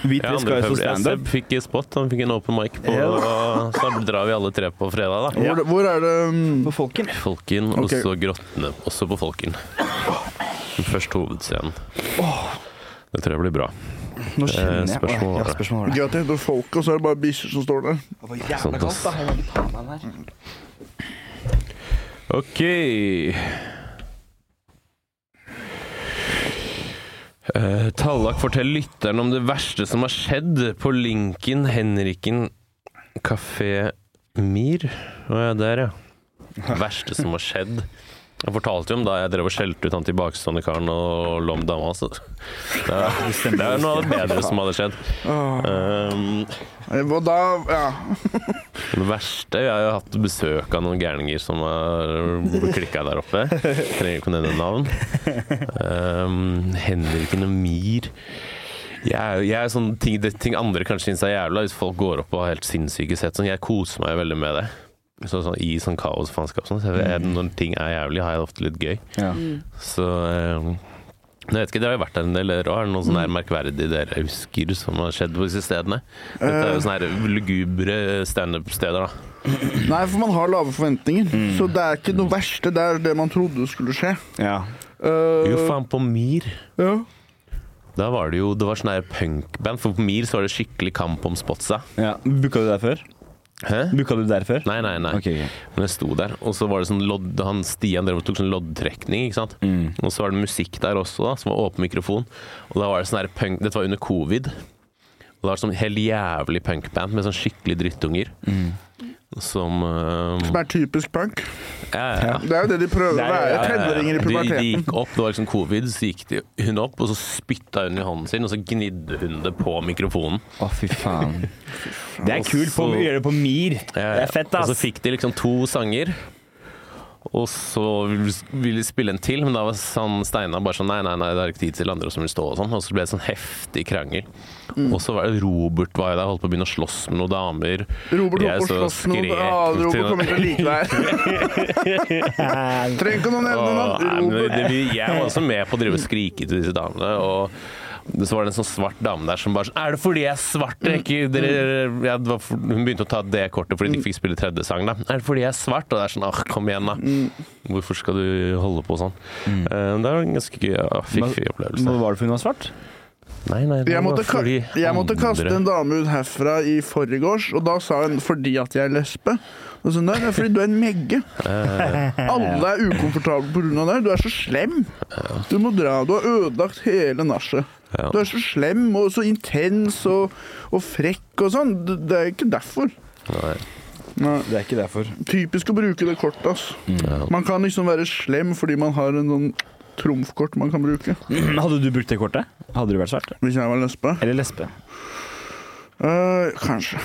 C: Vi
A: Ja,
C: tre
A: 2.
C: skal jo stå
A: februar. Ja, Seb
C: standup.
A: fikk spot, han fikk en open mic på
C: Ja.
A: og Så drar vi alle tre på fredag, da.
C: Ja.
B: Hvor, hvor er det um,
C: På Folken.
A: Folken,
B: Ok.
A: og så Grottene. Også på Folken. Men Først hovedscenen. Det tror jeg blir bra.
C: Nå skjønner
A: Eh,
C: jeg.
A: spørsmål
C: Åh,
A: var
C: ja,
A: det.
C: spørsmål var det.
B: Gøy at det heter Folk, og så er det bare bikkjer som står der.
C: Det var
A: Sant,
C: jævla
A: Sånn,
C: kaldt,
A: ass.
C: da. Jeg må ta meg den her.
A: OK Eh, Tallak, fortell lytteren om det verste som har skjedd på Lincoln Henriken Kafé Mir. Å ja, der, ja. Verste som har skjedd. Jeg fortalte jo om da jeg drev og skjelte ut han tilbakestående karen og lå med dama hans. Det er- det er noe av det bedre som hadde skjedd.
B: Åh.
A: Um,
B: Og Ah. da Ja.
A: det verste Jeg har jo hatt besøk av noen gærninger som har klikka der oppe. Trenger ikke å nevne navn. Um, Henriken og Mir. Jeg er, jo- jeg er sånn ting, det, ting andre kanskje syns er jævla, hvis folk går opp og har helt sinnssyke sett. Sånn, jeg koser meg veldig med det. Så, sånn, I sånn kaosfanskap. Sånn. Så jeg, når ting er jævlig, har jeg det ofte litt gøy.
C: Ja.
A: Så eh, jeg vet ikke, Dere har jo vært der en del år. Er det noe sånn her merkverdig dere husker som har skjedd på disse stedene? Dette er jo sånne her lugubre standup-steder, da.
B: Nei, for man har lave forventninger.
A: Mm.
B: Så det er ikke noe verste. Det er det man trodde skulle skje.
C: ja.
B: Eh,
A: Jo, faen, på Mir
B: ja.
A: Da var det jo det var sånn her punkband. For på Mir så var det skikkelig kamp om spotsa.
C: ja. Booka du der før?
A: Hæ?
C: Booka du der før?
A: Nei, nei, nei.
C: Ok, ok.
A: Men jeg sto der, og så var det sånn lodd Han Stian drev og tok sånn loddtrekning, ikke sant.
C: Mm.
A: Og så var det musikk der også, da, som var åpen mikrofon. Og da var det sånn her punk Dette var under covid. Og det var det sånn helt jævlig punkband med sånn skikkelig drittunger. Som eh,
B: Som er typisk punk.
A: ja, ja, ja.
B: Det er jo det de prøver
C: Det
B: å
C: er jo-
B: være.
C: ja, ja, ja.
B: Tenåringer i
A: De, de
B: puberteten.
A: gikk opp, det var liksom covid, så gikk de, hun opp, og så spytta hun i hånden sin, og så gnidde hun det på mikrofonen.
C: Å, fy faen. Det er
A: Og
C: kult på,
A: så-
C: å gjøre det på Mir.
A: Altså- Ja,
C: Det er fett,
A: Og
C: ass.
A: så fikk de liksom to sanger. Og så ville de spille en til, men da var sånn Steinar bare sånn Nei, nei, nei, det er ikke tid til andre som vil stå og sånn. Og så ble det sånn heftig krangel.
B: Mm.
A: Og så var det Robert var jo der, holdt på å begynne å slåss med noen damer.
B: Robert
A: Jeg
B: holdt på å
A: så
B: slåss med noen
A: skrek
B: Ja, Robert
A: til-
B: kommer til å like deg. Trenger ikke noen nevne
A: Åh, nei,
B: navn.
A: men det,
B: Robert.
A: det, jeg var også med på å drive og skrike til disse damene. Og så var det en sånn svart dame der som bare sånn Er det fordi jeg er svart? dere Ikke, dere, ja, det var for, hun begynte å ta det kortet fordi de ikke fikk spille tredje sang. Da. Er det fordi jeg er svart? Og det er sånn Åh, kom igjen,
B: Mm.
A: da. Hvorfor skal du holde på sånn? Eh, det var en ganske gøy ja, fiffig opplevelse.
C: Hva var det for hun var svart?
A: Nei, nei, det
B: Jeg
A: var
B: måtte, ka
A: fordi
B: jeg måtte kaste en
A: andre-
B: dame ut herfra i forgårs, og da sa hun 'fordi at jeg er lesbe'. Og sånn, Nei, det er fordi du er en megge.
A: Eh,
B: Alle er ukomfortable pga. det. Du er så slem. Du må dra. Du har ødelagt hele nachet.
A: Ja.
B: Du er så slem og så intens og, og frekk og sånn. Det det er ikke derfor.
A: Nei.
B: Nei.
C: Det er ikke derfor.
B: Typisk å bruke det kortet, ass.
A: Ja.
B: Man kan liksom være slem fordi man har en sånn trumfkort man kan bruke.
C: Hadde du brukt det kortet? Hadde du vært svart?
B: Hvis jeg var lesbe.
C: Eller lesbe?
B: Eh, kanskje.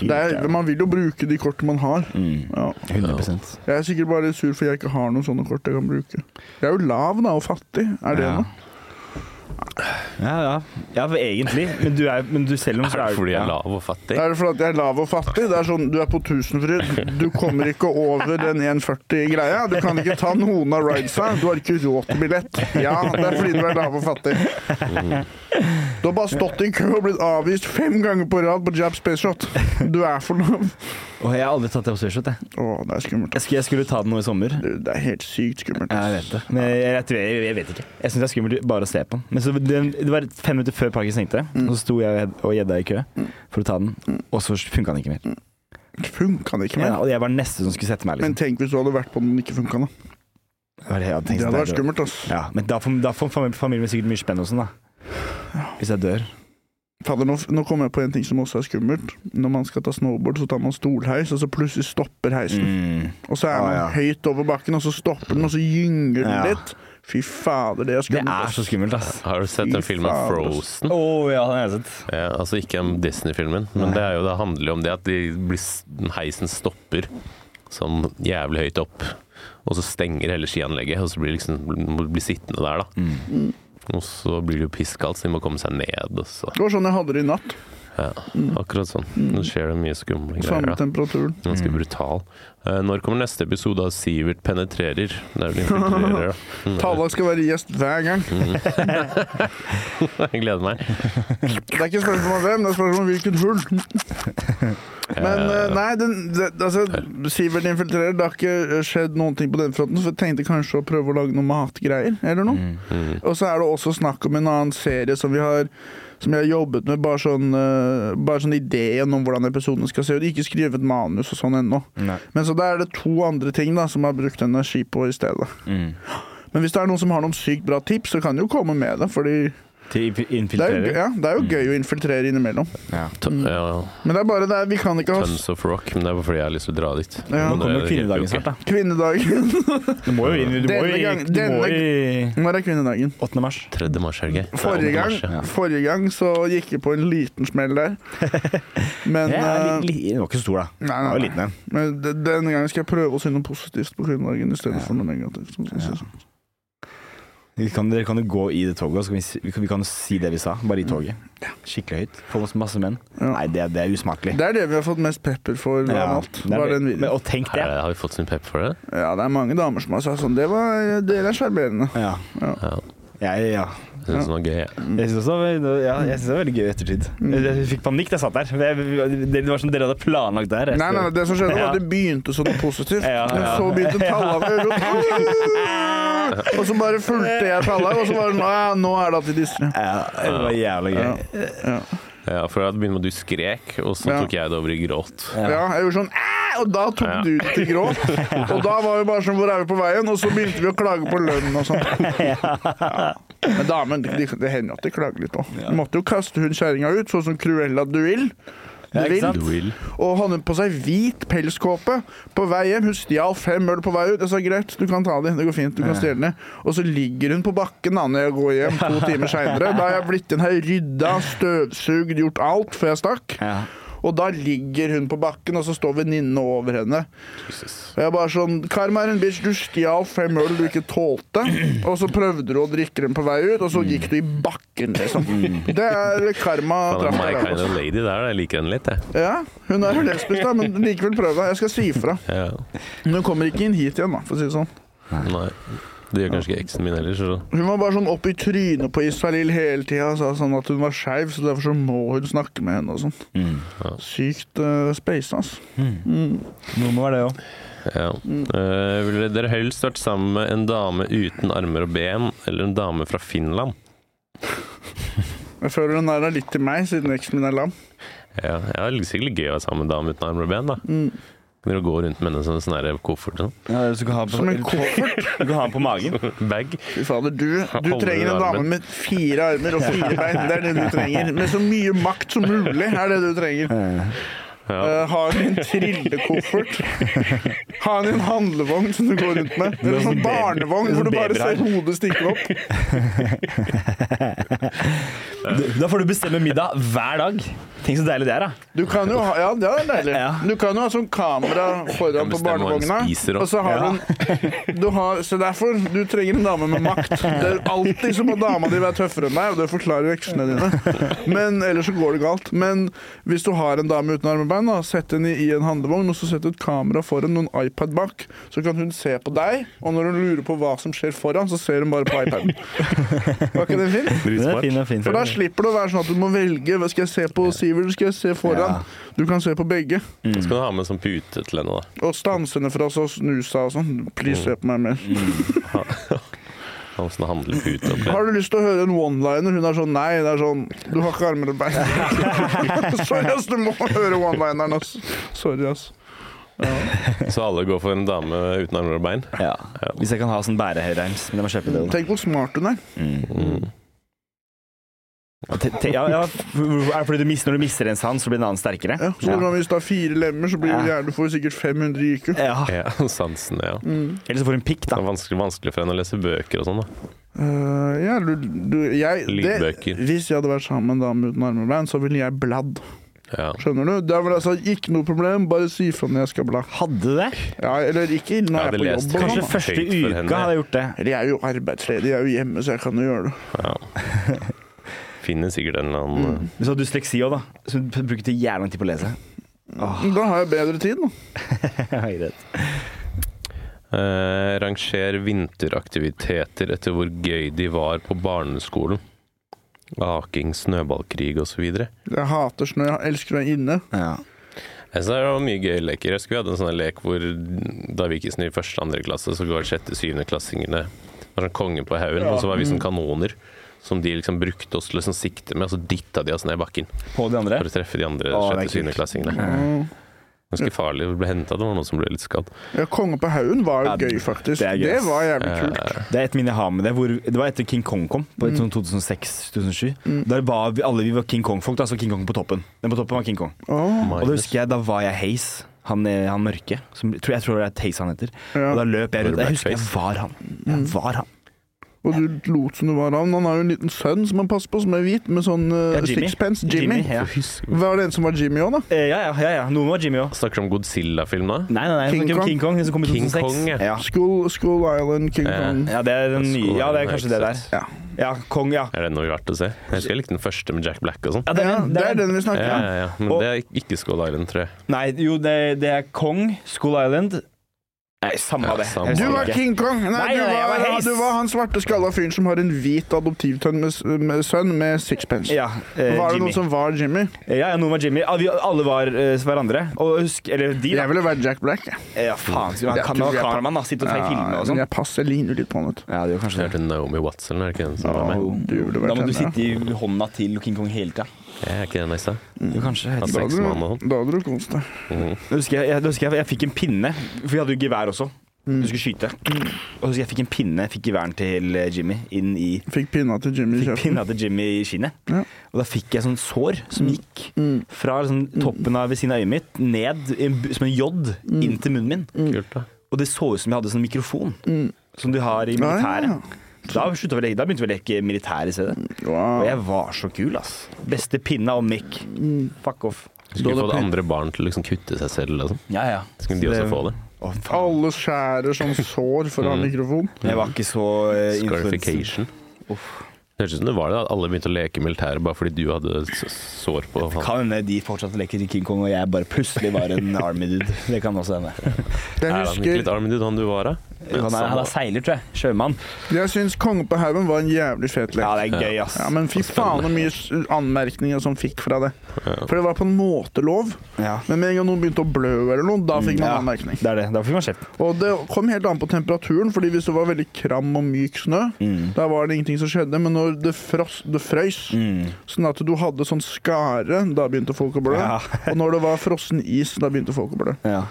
B: Det er, man vil jo bruke de kortene man har.
C: Mm,
B: Ja.
C: 100
B: Jeg er sikkert bare litt sur fordi jeg ikke har noen sånne kort jeg kan bruke. Jeg er jo lav da, og fattig. Er det
C: Ja.
B: noe?
C: Ja, ja. ja for egentlig. Men du, er, men du selv om
A: Er
C: så
A: det
C: er
A: fordi
C: ja.
A: jeg er lav og fattig?
B: Er det fordi at jeg er lav og fattig? Det er sånn, Du er på Tusenfryd, du kommer ikke over den 1,40-greia. Du kan ikke ta noen av ridesa. Du har ikke råd til billett. Ja, det er fordi du er lav og fattig. Du har bare stått i kø og blitt avvist fem ganger på rad på Jab Space Shot. Du er for lav.
C: Åh, jeg har aldri tatt det på Surshot, jeg.
B: Å, det er skummelt.
C: Jeg skulle, jeg skulle ta det nå i sommer.
B: Du, Det er helt sykt skummelt.
C: Ja, jeg vet det. Men jeg, jeg, tror- jeg, jeg vet ikke. Jeg syns det er skummelt bare å se på den. Men så det, det var fem minutter før parken stengte,
B: Mm.
C: og så sto jeg og gjedda i kø for å ta den, og så funka den ikke mer.
B: Funka det ikke
C: Ja,
B: mer?
C: og jeg var den neste som skulle sette meg,
B: Men
C: liksom.
B: tenk hvis du hadde vært på den og den ikke funka, da.
C: Det var det jeg hadde
B: Det
C: tenkt.
B: hadde vært
C: Det er-
B: skummelt, ass.
C: Ja, men da får, da får fami- familien min sikkert mye spenn og sånn, da. Hvis jeg dør.
B: Fader, nå, nå kommer jeg på en ting som også er skummelt. Når man skal ta snowboard, så tar man stolheis, og så plutselig stopper heisen. Og så er
C: Ah,
B: man
C: ja.
B: høyt over bakken, og så stopper den, og så gynger den
C: Ja.
B: litt. Fy fader, det er
C: Det
B: skummelt.
C: er
B: ass.
C: så skummelt, ass.
A: Har du sett
B: Fy
A: den filmen
B: faen, ass.
A: Frozen?
C: Å ja, den har jeg sett.
A: Ja, altså ikke om Disney-filmen, men det, er jo, det handler jo om det at de blir, heisen stopper sånn jævlig høyt opp, og så stenger hele skianlegget, og så blir de liksom, må bli sittende der, da.
C: Mm.
A: Og så blir det jo pisskaldt, så de må komme seg ned. Og så.
B: Det var sånn jeg hadde det i natt.
A: Ja,
B: Mm.
A: akkurat sånn. Nå skjer det mye skumle greier.
B: Samme
A: Da.
B: temperaturen.
A: Ganske brutal. Eh, når kommer neste episode av Sivert penetrerer? Det er vel infiltrerer, da. Mm.
B: Tallak skal være gjest hver gang.
A: Jeg gleder meg.
B: Det er ikke spørsmål om hvem, det er spørsmål om hvilket hull. Men eh, nei, den, det, altså, Sivert infiltrerer. Det har ikke eh, skjedd noen ting på den fronten, så jeg tenkte kanskje å prøve å lage noen matgreier eller
C: Mm.
B: noe.
A: mm.
B: Og så er det også snakk om en annen serie som vi har Som jeg har jobbet med, bare sånn, eh, bare sånn ideen om hvordan episoden skal se ut. Ikke skrevet manus og sånn ennå.
C: Nei.
B: Men så da er det to andre ting da som jeg har brukt
C: Mm.
B: energi på i stedet. Men hvis det er noen som har noen sykt bra tips, så kan de jo komme med det. Fordi
C: til inf-
B: Det er, jo,
C: infiltrering.
B: ja, det er jo gøy å infiltrere innimellom.
C: Ja.
A: Tø- ja,
B: Men det er bare det, vi kan ikke ha s-
A: Tons of rock, men det er bare fordi jeg har lyst til å dra dit.
B: Ja.
A: Men
C: Nå kommer
A: er
C: jo
A: det
C: kvinnedagen
A: helt ok.
C: snart, da.
B: kvinnedagen.
C: Du må jo inn du må
B: Denne
C: jo i,
B: gang-
C: du må i
B: Når er kvinnedagen?
C: 8. mars.
A: 3. mars, er det ikke?
B: Forrige
A: Nei, 8.
B: gang,
A: mars, ja.
B: forrige gang så gikk jeg på en liten smell der. Men,
C: Ja,
B: eh,
C: li, li, den var ikke så stor, da. Den
B: Nei,
C: var
B: nei,
C: jo liten, den.
B: men de- denne gangen skal jeg prøve å si noe positivt på kvinnedagen i stedet
C: Ja.
B: for noe negativt. sånn som jeg sier.
C: Vi kan, dere kan jo gå i det toget, og så kan vi, si- vi, kan, vi kan si det vi sa, bare i toget. Skikkelig høyt. Få oss masse menn.
B: Mm. Ja.
C: Nei, det, det er usmakelig.
B: Det er det vi har fått mest pepper for av
C: Ja,
B: alt.
C: det er-
B: Var den
C: men,
B: videoen.
C: og tenk
A: Her
C: det.
A: er det- Har vi fått sin pep for det?
B: Ja, det er mange damer som har sagt sånn Det var Dere er sjarmerende.
C: Ja.
A: Ja.
C: Ja, ja.
A: Jeg syns det var gøy. jeg.
C: Jeg syns også ja, jeg synes det var veldig gøy i ettertid.
B: Mm.
C: Jeg fikk panikk da jeg satt der. Jeg- Det var som dere hadde planlagt der. Jeg-
B: Nei, nei, det som skjedde, var
C: Ja.
B: at det begynte som noe positivt,
C: Ja,
B: men
C: ja.
B: så begynte Tallaug å gå Og så bare fulgte jeg Tallaug, og så bare nå, ja, nå er det at de disser.
C: Ja, det var jævlig
B: Ja.
C: gøy.
B: Ja.
A: Ja, for jeg begynte med at du skrek, og så
B: Ja.
A: tok jeg det over i gråt.
B: ja, jeg gjorde sånn "Æ!" og da tok
A: Ja.
B: du til gråt. Og da var vi bare sånn Hvor er vi på veien? Og så begynte vi å klage på lønnen og sånn. Ja. Men damen, de, det hender jo at de klager litt òg. Du måtte jo kaste hun kjerringa ut, sånn som Cruella du vil. Du
C: Ja, ikke
B: vil.
C: sant?
A: Du vil.
B: Og han hadde på seg hvit pelskåpe på vei hjem. Hun stjal fem øl på vei ut. Jeg sa greit, du kan ta de. Det går fint. Du kan stjele de. Og så ligger hun på bakken da når jeg går hjem to timer seinere. Da har jeg blitt inn her, rydda, støvsugd, gjort alt før jeg stakk.
C: Ja.
B: Og da ligger hun på bakken, og så står venninnene over henne.
A: Jesus.
B: Og jeg bare sånn Karma er en bitch, du stjal fem øl du ikke tålte, og så prøvde du å drikke dem på vei ut, og så gikk du i bakken, liksom. Det er karma
A: Faen, det er
B: traff
A: my
B: deg
A: kind
B: der.
A: of
B: altså.
A: lady der, da. jeg liker henne litt, jeg.
B: Ja, hun er jo lesbisk, da, men likevel prøv deg. Jeg skal si ifra.
A: Ja.
B: Men hun kommer ikke inn hit igjen, da, for å si det sånn.
A: Nei. Det gjør kanskje ikke eksen min heller, så
B: Hun var bare sånn opp i trynet på Isalill hele tida og sa sånn at hun var skeiv, så derfor så må hun snakke med henne og sånn. Sykt uh, space, altså.
C: Noe Mm. må være det òg.
A: ja.
B: Mm.
A: Eh, Ville dere helst vært sammen med en dame uten armer og ben, eller en dame fra Finland?
B: Jeg føler den der er litt til meg, siden eksen min er lam.
A: Ja, ja det er sikkert gøy å være sammen med en dame uten armer og ben, da.
B: Mm.
A: Kan dere gå rundt med henne som en sånn her koffert? Sånn.
C: Ja, du kan ha den
B: Som en
C: på,
B: koffert.
C: du kan ha den på magen.
A: Bag?
B: Fy fader, du, du
A: Holder du
B: trenger en dame
A: armen?
B: med fire armer og fire bein. Det er det du trenger. Med så mye makt som mulig er det du trenger.
A: Ja.
B: Uh, ha en trillekoffert. Ha en i en handlevogn som du går rundt med. Eller
C: Sånn baby-
B: sånn barnevogn
C: sånn
B: hvor du bare
C: babyarm.
B: ser hodet stikke opp.
C: Du- Da får du bestemme middag hver dag. Tenk så deilig det er, da.
B: Du kan jo ha, ja, det er deilig.
C: Ja.
B: Du kan jo ha sånn kamera foran på
A: Bestemme hva hun
B: barnevogna.
A: spiser, da.
B: Og så har du en du har, Så derfor, du trenger en dame med makt. Det er alltid så må dama di være tøffere enn deg, og det forklarer jo eksene dine. Men ellers så går det galt. Men hvis du har en dame uten arm og bein, da, sett henne i en handlevogn, og så sett et kamera foran og en iPad bak, så kan hun se på deg, og når hun lurer på hva som skjer foran, så ser hun bare på iPaden. Var ikke det fint?
C: Den er
A: Dritsmart.
C: fin, den er fin.
B: For da slipper det å være sånn at du må velge. Hva skal jeg se på, Sivert? Skal jeg se foran?
C: Ja.
B: Du kan se på begge.
A: Så kan du ha med en sånn pute til henne, da.
B: Og stansene fra så snusa og sånn.
C: Mm.
B: Please, se på meg mer.
A: Ha en sånn handlepute oppi.
B: Har du lyst til å høre en one-liner? Hun er sånn Nei, det er sånn Du har ikke armer og bein. Sorry, ass. Du må høre one-lineren, ass. Sorry, ass.
A: Så alle går for en dame uten armer og bein?
C: Ja. Hvis jeg kan ha sånn bærehøyreims. Men jeg må kjøpe det. da.
B: Tenk hvor smart hun er.
A: Mm.
C: Ja, te- te- Ja, ja. hvorfor- Er det fordi du mister, når du mister en sand, så blir en annen sterkere?
B: Ja, så hvordan Hvis du har fire lemmer, så blir
C: Ja.
B: du gjerne får du sikkert 500 i IQ.
C: Ja.
A: Ja, sansen, ja.
B: Mm.
C: Eller så får du en pikk,
A: Det
C: da.
A: er vanskelig, vanskelig for henne å lese bøker og sånn, da.
B: Øh, ja, du, du jeg, det,
A: Lydbøker.
B: Hvis jeg hadde vært sammen med en dame uten armer og bein, så ville jeg bladd.
A: Ja.
B: Skjønner du? Det er vel altså ikke noe problem, bare si fra når jeg skal bla.
C: Hadde du det?
B: Ja, eller ikke når
A: Ja,
B: jeg er
A: det
B: på
A: leste jeg.
B: jobb. og
C: Kanskje
B: sånn, da.
C: første
A: Høyt for henne.
C: uka hadde jeg gjort det.
B: Eller jeg er jo arbeidsledig, jeg er jo hjemme, så jeg kan jo gjøre det.
A: ja. Finner sikkert en eller annen
C: Men så har du dysleksi òg, da. Så du bruker til jævlig lang tid på å lese.
B: Men Da har jeg bedre tid, da.
A: eh, Ranger vinteraktiviteter etter hvor gøy de var på barneskolen. Aking, snøballkrig osv. Jeg
B: Jeg hater snø, jeg elsker å være inne.
C: Ja.
A: synes det var mye gøye leker. Jeg husker vi hadde en sånn lek hvor da vi gikk i første og andre klasse, så går sjette- syvendeklassingene Det var sånn konge på haugen, og så var vi
C: Mm.
A: sånn kanoner. Som de liksom brukte oss til å liksom sikte med, og så dytta de oss ned i bakken
C: På de andre.
A: for å treffe de
C: Å,
A: andre
C: det er kult.
A: sjette- syvendeklassingene.
B: Mm.
A: Ganske farlig. Det ble henta, det var noen som ble litt skadd.
B: Ja, Konge på haugen var
C: Ja,
B: gøy, faktisk.
C: det er
B: Det,
C: gøy, ass.
B: var jævlig kult.
A: Eh,
C: Det er et minne jeg har med det. Hvor, det var etter King Kong kom, på et sånn 2006-2007.
B: Mm.
C: Der var vi, alle vi var King Kong-folk. Da så King Kong på toppen. Den på toppen var King Kong.
B: Åh,
C: Og da husker jeg, da var jeg Haze. Han, eh, han mørke. Som, tror, jeg tror det er Haze han heter.
B: Ja.
C: Og da løp jeg rundt. Jeg husker jeg
A: Blackface.
C: var han. Jeg var han.
B: Og du lot som du var han. Han har jo en liten sønn som han passer på, som er hvit, med sånn eh,
C: Ja, Jimmy.
B: sixpence. Jimmy.
C: Jimmy, ja.
B: Var det en som var Jimmy òg, da?
C: Eh, ja, ja, ja, ja. Noen var Jimmy òg.
A: Snakker du om Godzilla-film nå?
C: Nei, nei, nei.
B: King
C: King Kong.
B: Kong.
C: King Kong, den som kom i
A: King
C: 2006.
A: Kong, ja.
C: ja.
B: School, School Island, King
A: Ja.
B: Kong.
C: Ja, det er, den nye. ja, det er kanskje det der.
B: Ja.
A: altså.
C: Ja, Kong, ja.
A: Er den noe verdt å se? Jeg husker jeg likte den første med Jack Black og sånn.
C: Ja,
B: Ja, det er den vi
A: Ja,
B: snakker om.
A: ja, ja. Men
C: Og-
A: det er ikke Skull Island, tror jeg.
C: Nei, jo, det, det er Kong, School Island Nei, samme
A: Ja,
C: av det.
A: samme
C: Jeg
B: Du
C: husker
B: var
C: ikke.
B: King Kong! Nei,
C: Nei,
B: du,
C: nei, jeg
B: var,
C: var Haze.
B: du var han svarte skalla fyren som har en hvit adoptivtønn med, s- med sønn med sixpence.
C: Ja, eh,
B: var det
C: Jimmy.
B: noen som var Jimmy?
C: Ja, ja, noen var Jimmy. Ah, vi, alle var eh, hverandre. Og husk, eller de, da.
B: Jeg ville vært Jack Black. jeg.
C: Ja, faen. Skulle
B: Jeg
C: han kan
B: tror
C: være
B: jeg-
C: kameramann, da. Sitte og ta i filmer og
B: men
C: sånn.
B: jeg passer ligner litt på han, vet du.
C: Ja, det gjør kanskje
A: Jeg hørte Naomi Watson, er det ikke den som var med?
B: Åh, du ville
C: Da
B: vært
C: må du
B: henne, ja.
C: sitte i hånda til King Kong hele tida.
A: Jeg er ikke den neste.
C: Jo, kanskje. Jeg vet ikke.
A: Altså,
B: Da hadde
A: Seks mann og
B: du- da hadde du kost deg.
A: Mhm.
C: Jeg husker jeg, jeg, husker jeg, jeg fikk en pinne, for vi hadde jo gevær også. Du skulle skyte. Og husker jeg fikk en pinne, fikk geværen til eh, Jimmy inn i
B: Fikk pinna til Jimmy i
C: Fikk
B: kjeften.
C: pinna til Jimmy i skinnet.
B: Ja. Mm.
C: Og da fikk jeg sånn sår som gikk fra liksom, toppen av ved siden av øyet mitt ned i en bu- som en jod
B: Mm.
C: inn til munnen min.
A: Kult, da.
C: Og det så ut som jeg hadde sånn mikrofon som du har i
B: Mm. Ja, ja,
C: militæret.
B: ja.
C: Da, slutta vi å leke, da begynte vi å leke militær i stedet. Og
B: Wow.
C: jeg var så kul, ass. Beste pinna og mic.
B: Mm.
C: Fuck off.
A: Skulle
B: Da
A: fått
B: hadde pen-
A: andre barn til å liksom kutte seg selv og sånn.
C: Ja, ja.
A: Skulle de også få det?
C: Å, faen.
B: Alle skjærer som sår for
A: Mm.
B: å ha mikrofon.
C: Jeg var ikke så eh, influencer.
A: Scarification. Det høres ut som det var det, at alle begynte å leke militære bare fordi du hadde s- sår på hånden.
C: Kan hende de fortsatte å leke til King Kong, og jeg bare plutselig var en army dude. Det kan også hende.
A: Er
B: Jeg
A: han ikke litt
B: husker
A: armen din, han du var, da?
C: Han er, han er seiler, tror jeg. Sjømann.
B: Jeg syns Konge på haugen var en jævlig fet lek.
C: Ja, det er gøy, ass.
B: Ja, men fy faen så mye s- anmerkninger som fikk fra det. For det var på en måte lov,
C: Ja.
B: men med en gang noen begynte å blø eller noe, da fikk man
C: Ja,
B: anmerkning.
C: Det er det. Da fikk man kjeft.
B: Og det kom helt an på temperaturen, fordi hvis det var veldig kram og myk snø,
C: Mm.
B: da var det ingenting som skjedde, men når det, fros, det frøs,
C: Mm.
B: sånn at du hadde sånn skare, da begynte folk å blø.
C: Ja.
B: og når det var frossen is, da begynte folk å blø.
C: Ja.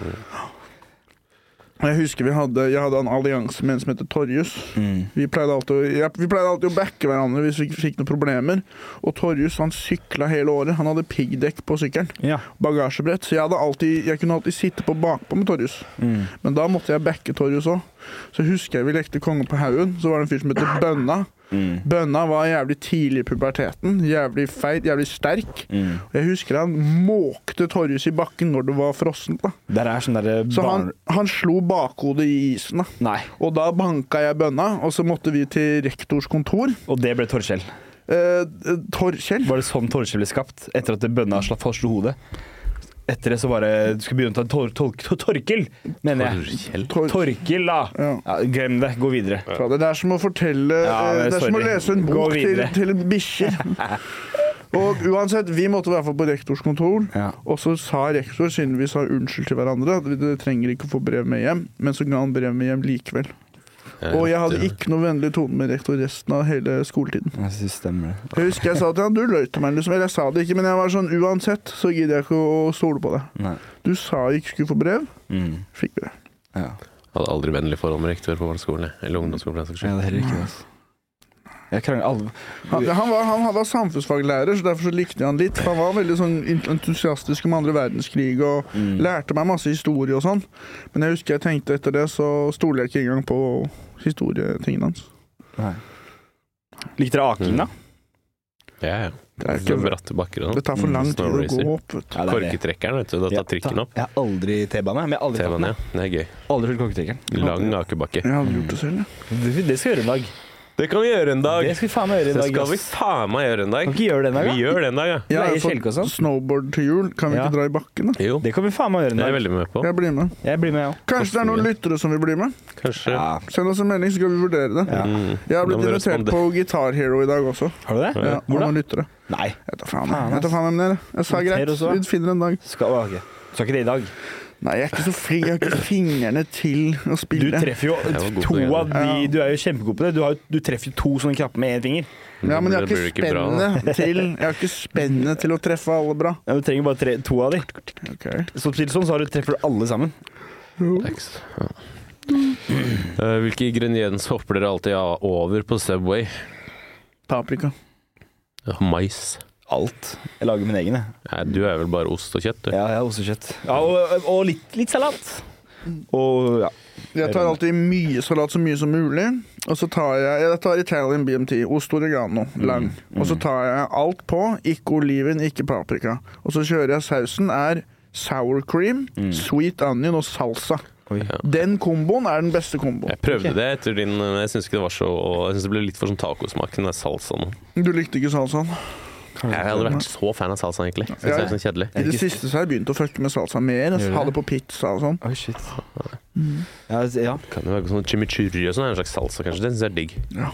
B: Og Jeg husker vi hadde, jeg hadde en allianse med en som heter Torjus.
C: Mm.
B: Vi pleide alltid, å- ja, vi pleide alltid å backe hverandre hvis vi ikke fikk noen problemer. Og Torjus han sykla hele året. Han hadde piggdekk på sykkelen.
C: ja.
B: Bagasjebrett. Så jeg, hadde alltid, jeg kunne alltid sitte på bakpå med Torjus.
C: Mm.
B: Men da måtte jeg backe Torjus òg. Så husker jeg vi lekte Konge på haugen. Så var det en fyr som het Bønna.
C: Mm.
B: Bønna var jævlig tidlig i puberteten. Jævlig feit, jævlig sterk.
C: Mm.
B: Og jeg husker han måkte Torjus i bakken når det var frossent. da.
C: Der er sånn derre
B: Så
C: barn...
B: han, han slo bakhodet i isen. da.
C: Nei.
B: Og da banka jeg bønna, og så måtte vi til rektors kontor.
C: Og det ble Torskjell.
B: Eh, Torkjell.
C: Var det sånn Torskjell ble skapt? Etter at bønna slapp fast slo hodet? Etter det så var det Du skulle begynne å ta tor tol to torkel, mener jeg.
A: Torkjell?
B: Tor
C: Torkil, da!
B: Ja.
C: Ja, glem det. Gå videre.
B: Fra det. det er som å fortelle
C: Ja,
B: eh,
C: men
B: Det er som å
C: sorry.
B: lese en
C: Gå
B: bok til,
C: videre.
B: til en bikkje. Og uansett, vi måtte i hvert fall på rektors kontor.
C: Ja.
B: Og så sa rektor, siden vi sa unnskyld til hverandre, at vi dere trenger ikke å få brev med hjem. Men så ga han brev med hjem likevel. Og jeg hadde ikke noe vennlig tone med rektor resten av hele skoletiden.
C: Jeg syns stemmer det.
B: Jeg husker jeg sa til han, du løy til meg, liksom. Eller jeg sa det ikke, men jeg var sånn, uansett så gidder jeg ikke å stole på deg.
C: Nei.
B: Du sa jeg ikke skulle få brev.
C: Mm.
B: Fikk brev.
C: Ja.
A: Hadde aldri vennlig forhold med rektor på barneskolen. jeg. Eller ungdomsskolen. for den saks skyld.
C: det er heller ikke det, altså. Jeg krangler alle
B: Han, han, var, han, han var samfunnsfaglærer, så derfor så likte jeg han litt. Han var veldig sånn entusiastisk om andre verdenskrig og lærte meg masse historie og sånn. Men jeg husker jeg tenkte etter det, så stoler jeg ikke engang på historietingene hans.
C: Nei. Likte dere aking, da?
A: Ja, ja.
B: Det, er
A: Så
B: ikke,
A: bratte bakker og
B: det
A: sånn.
B: tar for lang tid å gå opp.
C: Ja, det
B: vet du.
C: er det.
A: Korketrekkeren, vet du. Da tar trikken opp.
C: Jeg har aldri T-bane. Men jeg har aldri tatt den.
A: TV-en, ja. Det er gøy.
C: Aldri fulgt korketrekkeren.
A: Lang akebakke.
B: Jeg hadde gjort det selv, jeg.
C: Det, det skal vi gjøre en dag.
A: Det kan vi gjøre en dag!
C: Det skal vi faen meg gjøre en
A: Det
C: dag.
A: skal vi
C: ass.
A: faen meg gjøre en
C: Kan
A: dag.
C: vi ikke gjøre det en dag,
A: Vi
C: da?
A: gjør det en dag, ja.
B: Jeg har
C: Leie kjelke og
B: fått
C: sånn.
B: snowboard til jul. Kan vi
C: Ja.
B: ikke dra i bakken, da?
A: Jo, det
C: Det kan vi faen meg gjøre en
A: er jeg
C: dag.
A: veldig med på.
B: Jeg blir med.
C: Jeg blir med, jeg òg.
B: Kanskje det er noen lyttere som vil bli med?
A: Kanskje.
B: Send oss en melding, så skal vi vurdere det.
A: Mm. Da
B: Jeg har
A: må
B: blitt
A: vi
B: invitert
A: responde.
B: på Guitar Hero i dag også.
C: Har du det?
B: Ja, av
C: Hvor da?
B: noen lyttere.
C: Nei.
B: Jeg tar faen
C: Faen,
B: jeg tar faen hvem det er. Jeg sa
C: Inviter
B: greit,
C: oss også.
B: vi finner en dag.
C: Skal, å, ok. Skal ikke det i dag?
B: Nei, jeg er ikke så flink. Jeg har ikke fingrene til å
C: Du
B: spille.
C: treffer jo
A: Jeg var god på
C: to
A: det, ja.
C: av de Du er jo kjempegod på det. Du, har, jo- du treffer jo to sånne knapper med én finger.
B: Ja, men jeg har
A: Det blir
B: ikke
A: ikke bra,
B: spennet til Jeg har ikke spennet til å treffe alle bra.
C: Ja, du trenger bare tre, to av de.
B: Okay.
C: Så til sånn så har du, treffer du alle sammen.
A: Tekst. Ja. Eh, hvilke ingredienser hopper dere alltid av- over på Subway?
B: Paprika.
A: Ja, Mais.
C: Alt. Jeg lager min egen, jeg.
A: Nei, du er vel bare ost og kjøtt, du.
C: Ja, jeg har også kjøtt. Ja, og og litt, litt salat. Og ja.
B: Jeg tar alltid mye salat så mye som mulig. Og så tar jeg Jeg tar Italian BMT. Ost oregano.
A: Mm.
B: Lang. Og så tar jeg alt på. Ikke oliven, ikke paprika. Og så kjører jeg sausen er sour cream,
A: Mm.
B: sweet onion og salsa.
C: Oi.
B: Den komboen er den beste komboen.
A: Jeg prøvde det etter din, men jeg syns ikke det var så Jeg synes det ble litt for sånn tacosmak, den der salsaen.
B: Du likte ikke salsaen?
A: Jeg hadde vært så fan av salsa, egentlig. Synes
B: Ja.
A: det er sånn kjedelig.
B: I det siste så har jeg begynt å fucke med salsa mer.
C: Gjør du
B: Ha
C: det?
B: det på pizza og sånn.
C: Oi, shit. Ja, s- ja.
A: Kan jo være sånn chimichurri og sånn, er en slags salsa, kanskje. Den syns jeg er digg.
B: Ja.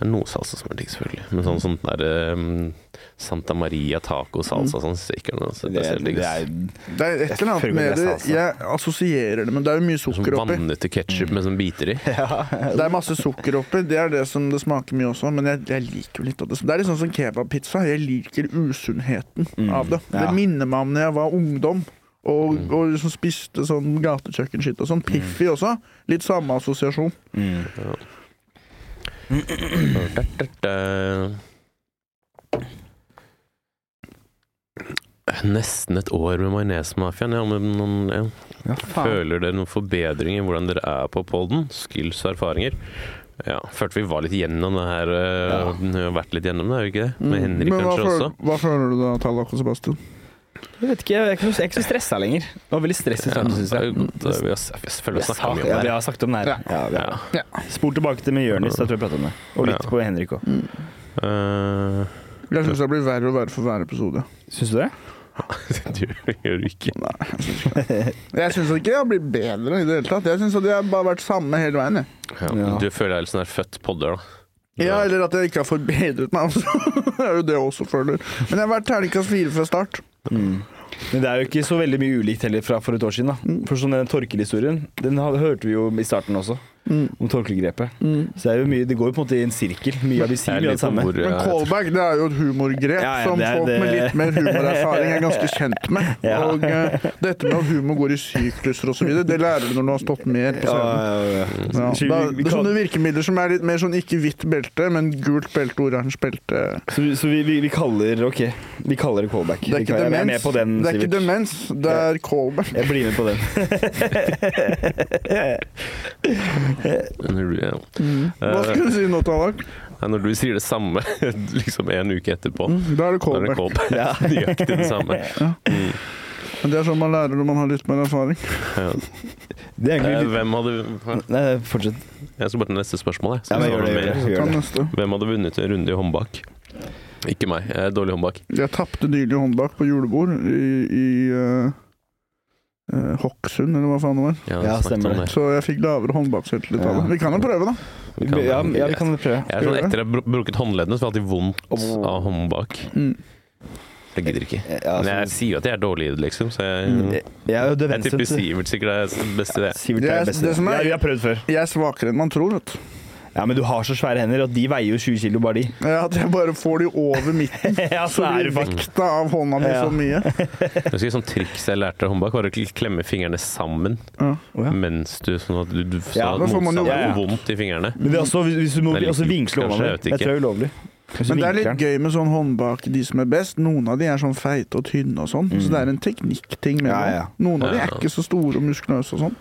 A: Det er noe salsa som er digg, selvfølgelig. Men sånn sånn der ehm, Santa Maria taco-salsa sånn, synes jeg ikke er noe så
C: Det,
A: spesielt digg.
C: det er,
B: Mm. Det er et eller
C: føler
B: annet
C: det
B: med
C: er
B: det.
C: salsa.
B: Jeg assosierer det, men det er jo mye
A: Sånn
B: sukker oppi.
A: vannete ketsjup med sånn biter i.
B: Det er masse sukker oppi. Det er det som det smaker mye også, men jeg, jeg liker jo litt av det. Det er litt sånn som kebabpizza. Jeg liker usunnheten
A: Mm.
B: av det.
C: Mm, ja.
B: Det minner meg om når jeg var ungdom. Og, og liksom spiste sånn gatekjøkkenskitt og sånn. Piffi også. Litt samme assosiasjon.
A: Mm. Nesten et år med Majonesmafiaen. Ja, men noen, ja.
C: ja, faen.
A: Føler dere noen forbedring i hvordan dere er på polden? Skills og erfaringer? Ja, følte vi var litt gjennom det her. øh, Vi har vært litt gjennom det, har vi ikke det? Mm. Med Henrik
B: men hva
A: kanskje
B: føler,
A: også.
B: hva føler du da, Tallak og Sebastian?
C: Jeg vet ikke, jeg er ikke, noe- jeg er ikke så stressa lenger. Det var veldig stress i
A: Ja,
C: starten, syns
A: det er jo
C: jeg.
A: godt, øh, vi har, jeg føler vi har snakket mye om
C: Ja,
A: det.
C: vi
A: her.
C: har snakket om det her. Ja, vi har.
B: Ja.
C: Spol tilbake til med Jonis, da tror jeg vi pratet om det. Og litt
A: Ja.
C: på Henrik òg.
A: Øh,
B: Jeg syns det blir verre og verre for hver episode.
C: Syns du det?
A: du gjør det ikke.
B: Jeg syns ikke jeg blir bedre i det hele tatt. Jeg syns at jeg bare har vært samme hele veien. jeg.
A: Ja,
C: Ja.
A: Du føler deg litt sånn her født podder, da.
B: Ja,
A: Ja.
B: eller at jeg ikke har forbedret meg også. det er jo det jeg også føler. Men jeg har vært terningkast fire fra start.
A: Mm.
C: Men det er jo ikke så veldig mye ulikt heller fra for et år siden. da. For sånn den Torkel-historien, den hadde- hørte vi jo i starten også,
B: Mm.
C: om torkelgrepet. Så det, er jo mye, det går jo på en måte i en sirkel. Mye av vi
A: Jeg
C: sier
A: er
C: mye av
A: litt
C: det samme.
A: på hvor,
B: Men
A: øh,
B: callback det er jo et humorgrep
C: Ja, ja,
B: som
C: det er-
B: folk med
C: det-
B: litt mer humorerfaring er ganske kjent med.
C: Ja.
B: Og eh, dette med at humor går i sykluser osv., det lærer du når du har stått mer på
C: Ja,
B: scenen.
C: ja, ja.
A: Mm.
B: Ja,
C: Så vi-
B: da,
C: vi
B: det er
C: kan-
B: sånne virkemidler som er litt mer sånn ikke hvitt belte, men gult belte, oransje belte.
C: Så, vi- så vi, vi, vi kaller Ok, vi kaller det callback.
B: Det er
C: Vi
B: ikke
C: kan- jeg er med
B: demens,
C: på den,
B: det er,
C: Sivert.
B: ikke demens, det er callback.
C: Jeg blir med på den.
A: Når du, ja.
C: Mm.
B: Hva skulle du si nå, Tallak?
A: Nei, Når du sier det samme liksom en uke etterpå,
C: Mm,
B: Mm, Da
A: da
B: er det
A: er det
B: callback.
A: callback. Nøyaktig det samme.
B: Men det er sånn man lærer når man har litt mer erfaring.
A: Ja.
C: Det er
A: Eh,
C: egentlig litt
A: Hvem hadde
C: Nei, fortsett.
A: Jeg skal bare til neste spørsmål, jeg.
C: Ja, men
A: Så
C: gjør det,
A: var det
C: gjør det.
A: mer.
B: Ta neste.
A: Hvem hadde vunnet en runde i håndbak? Ikke meg. Jeg er dårlig i håndbak.
B: Jeg tapte nylig håndbak på julebord i, i eh, eh, Hokksund, eller hva faen det var.
A: Jeg har
C: Ja,
A: snakket
C: stemmer
A: om
B: Så jeg fikk lavere håndbakselvtillit av det. Vi kan jo prøve, da.
A: Vi kan-
C: Ja, ja, vi kan prøve.
A: Jeg er sånn, etter jeg har bru- brukket håndleddene, så har jeg alltid vondt
C: Åh.
A: av håndbak.
B: Mm.
A: Jeg gidder ikke.
C: Ja,
A: Men jeg
C: altså,
A: sier jo at jeg er dårlig i det, liksom, så
C: jeg
A: jeg
C: er jo det
A: jeg tipper
C: venstrehendt.
A: Sivert sikkert er best i det.
C: Sivert er
B: Det er-
C: det beste.
B: det som er-
C: Ja, vi har prøvd før.
B: Jeg er svakere enn man tror, vet du.
C: Ja, Men du har så svære hender, og de veier jo 20 kilo bare de.
B: Ja, Eh, At jeg bare får de over midten.
C: ja,
B: Så blir vekta av hånda mi
C: Ja.
B: så mye.
A: Jeg husker et sånt triks jeg lærte av håndbak, var å kl- klemme fingrene sammen
B: Ja.
C: ja.
A: mens du sånn at du, du sånn
C: Ja,
A: at
B: da får man jo-
A: motstanderen
C: Ja, ja.
A: får vondt i fingrene.
C: Men det er også, hvis- hvis du må
A: Det er litt
C: også vinkle
A: kult,
C: hånda
A: kanskje,
C: mi.
A: jeg vet
C: Jeg
A: ikke.
C: tror det er ulovlig. Hvis du
B: Men det er
C: vinkler
B: litt
C: den.
B: gøy med sånn håndbak, de som er best. Noen av de er sånn feite og tynne og sånn, så det er en teknikkting med
C: Mm. Ja,
B: det.
C: ja.
B: Noen av de
A: Ja.
B: er ikke så store og muskuløse og sånn.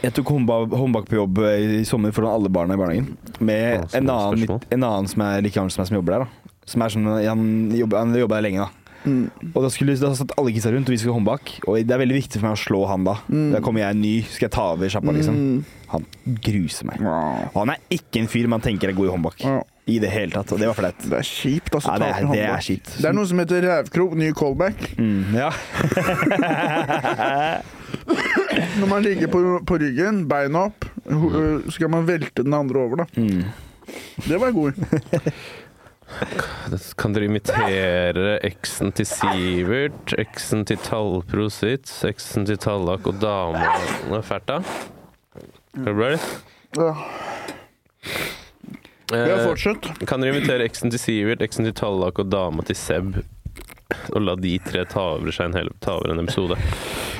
C: Jeg tok håndba- håndbak på jobb eh, i sommer foran alle barna i barnehagen. Med
A: Ja, så
C: en
A: bra
C: annen,
A: spørsmål.
C: en annen som er like gammel som meg, som jobber der. da. Som er sånn, Han jobber, han jobber der lenge, da.
B: Mm.
C: Og da, skulle, da satt alle kidsa rundt, og vi skulle håndbak. Og det er veldig viktig for meg å slå han da.
B: Mm.
C: Da kommer jeg ny, skal jeg ta over sjappa, liksom. Han gruser meg.
B: Mm. Ja.
C: Og han er ikke en fyr man tenker er god i håndbak.
B: Ja.
C: I det hele tatt. Og det var flaut.
B: Det er kjipt, altså.
C: Ja, det er,
B: tape
C: det
B: håndbak.
C: er kjipt.
B: det er noe som heter rævkrok, ny callback.
C: Mm, ja.
B: Når man ligger på, på ryggen, beina opp,
C: Mm.
B: ho- øh, så kan man velte den andre over, da. Det var god.
A: Kan dere imitere eksen til Sivert, eksen til Tallprosit, eksen til Tallak og dama Nå er Fælt, da. Er det bra, eller?
B: Ja. Vi har
A: Eh,
B: fortsatt.
A: Kan dere invitere eksen til Sivert, eksen til Tallak og dama til Seb? Og la de tre ta over seg en hel ta over en episode.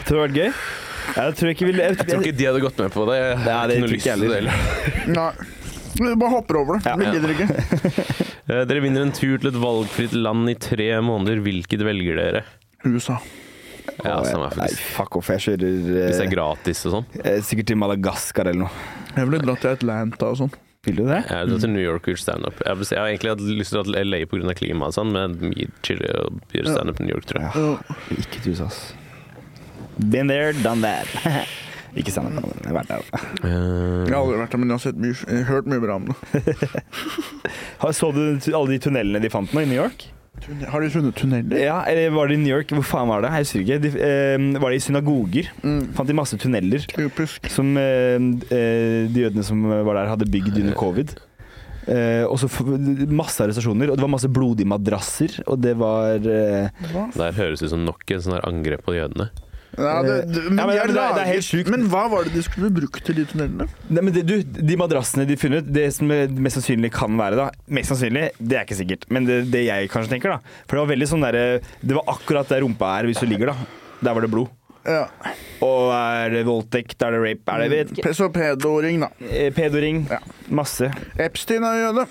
C: Tror det hadde vært gøy? Ja, Jeg tror ikke vi jeg,
A: Jeg tror ikke de hadde gått med på det. Jeg
C: Nei,
A: har
C: det
A: ikke noe
C: tror ikke
A: lyst til det
C: jeg
A: heller.
B: Nei. Vi bare hopper over det.
C: Ja.
B: Vi gidder ikke.
A: Eh, Dere vinner en tur til et valgfritt land i tre måneder. Hvilket velger dere?
B: USA.
A: Ja,
C: Å,
A: samme
C: Nei,
A: faktisk.
C: fuck off. Jeg kjører eh,
A: Hvis det er gratis og sånn.
C: eh, sikkert til Madagaskar eller noe.
B: Jeg ville dratt til Atlanta og sånn.
C: Vil du det?
A: Jeg drar til New York og gjør standup. Jeg har bes- jeg har egentlig hatt lyst til å dra til LA pga. klimaet og sånn, men mye chillere å gjøre standup i New York, tror jeg.
B: Ja.
C: Ikke til USA, ass. Been there, done that. Mm. ikke sant. men Jeg har vært der.
B: Jeg
A: Eh,
B: har aldri vært der, men jeg har sett mye, jeg har hørt mye bra om det.
C: Har- Så du t- alle de tunnelene de fant nå i New York?
B: Tunne- Har de funnet tunneler?
C: Ja, eller var det i New York? Hvor faen var det? Jeg husker ikke. De, eh, var det i synagoger?
B: Mm.
C: Fant de masse tunneler
B: Typisk.
C: som eh, eh, de jødene som var der, hadde bygd under covid. Eh, og så f- masse arrestasjoner, og det var masse blodige madrasser, og det var eh,
B: Hva?
A: Det her høres ut som nok en sånn her angrep på jødene.
B: Ja, det, det, men,
C: Eh, Ja, men det- det
B: de har
C: er- det er
B: laget-
C: helt sjukt.
B: men hva var det de skulle brukt til de tunnelene?
C: Nei, men det, du, De madrassene de funnet, det som mest sannsynlig kan være da Mest sannsynlig, det er ikke sikkert, men det, det jeg kanskje tenker, da For det var veldig sånn derre Det var akkurat der rumpa er hvis du ligger, da. Der var det blod.
B: Ja.
C: Og er det voldtekt, er det rape, er det jeg vet ikke.
B: Pe- Så pedoring, da.
C: Eh, Pedoring.
B: Ja.
C: Masse.
B: Epstein er jøde.
C: Er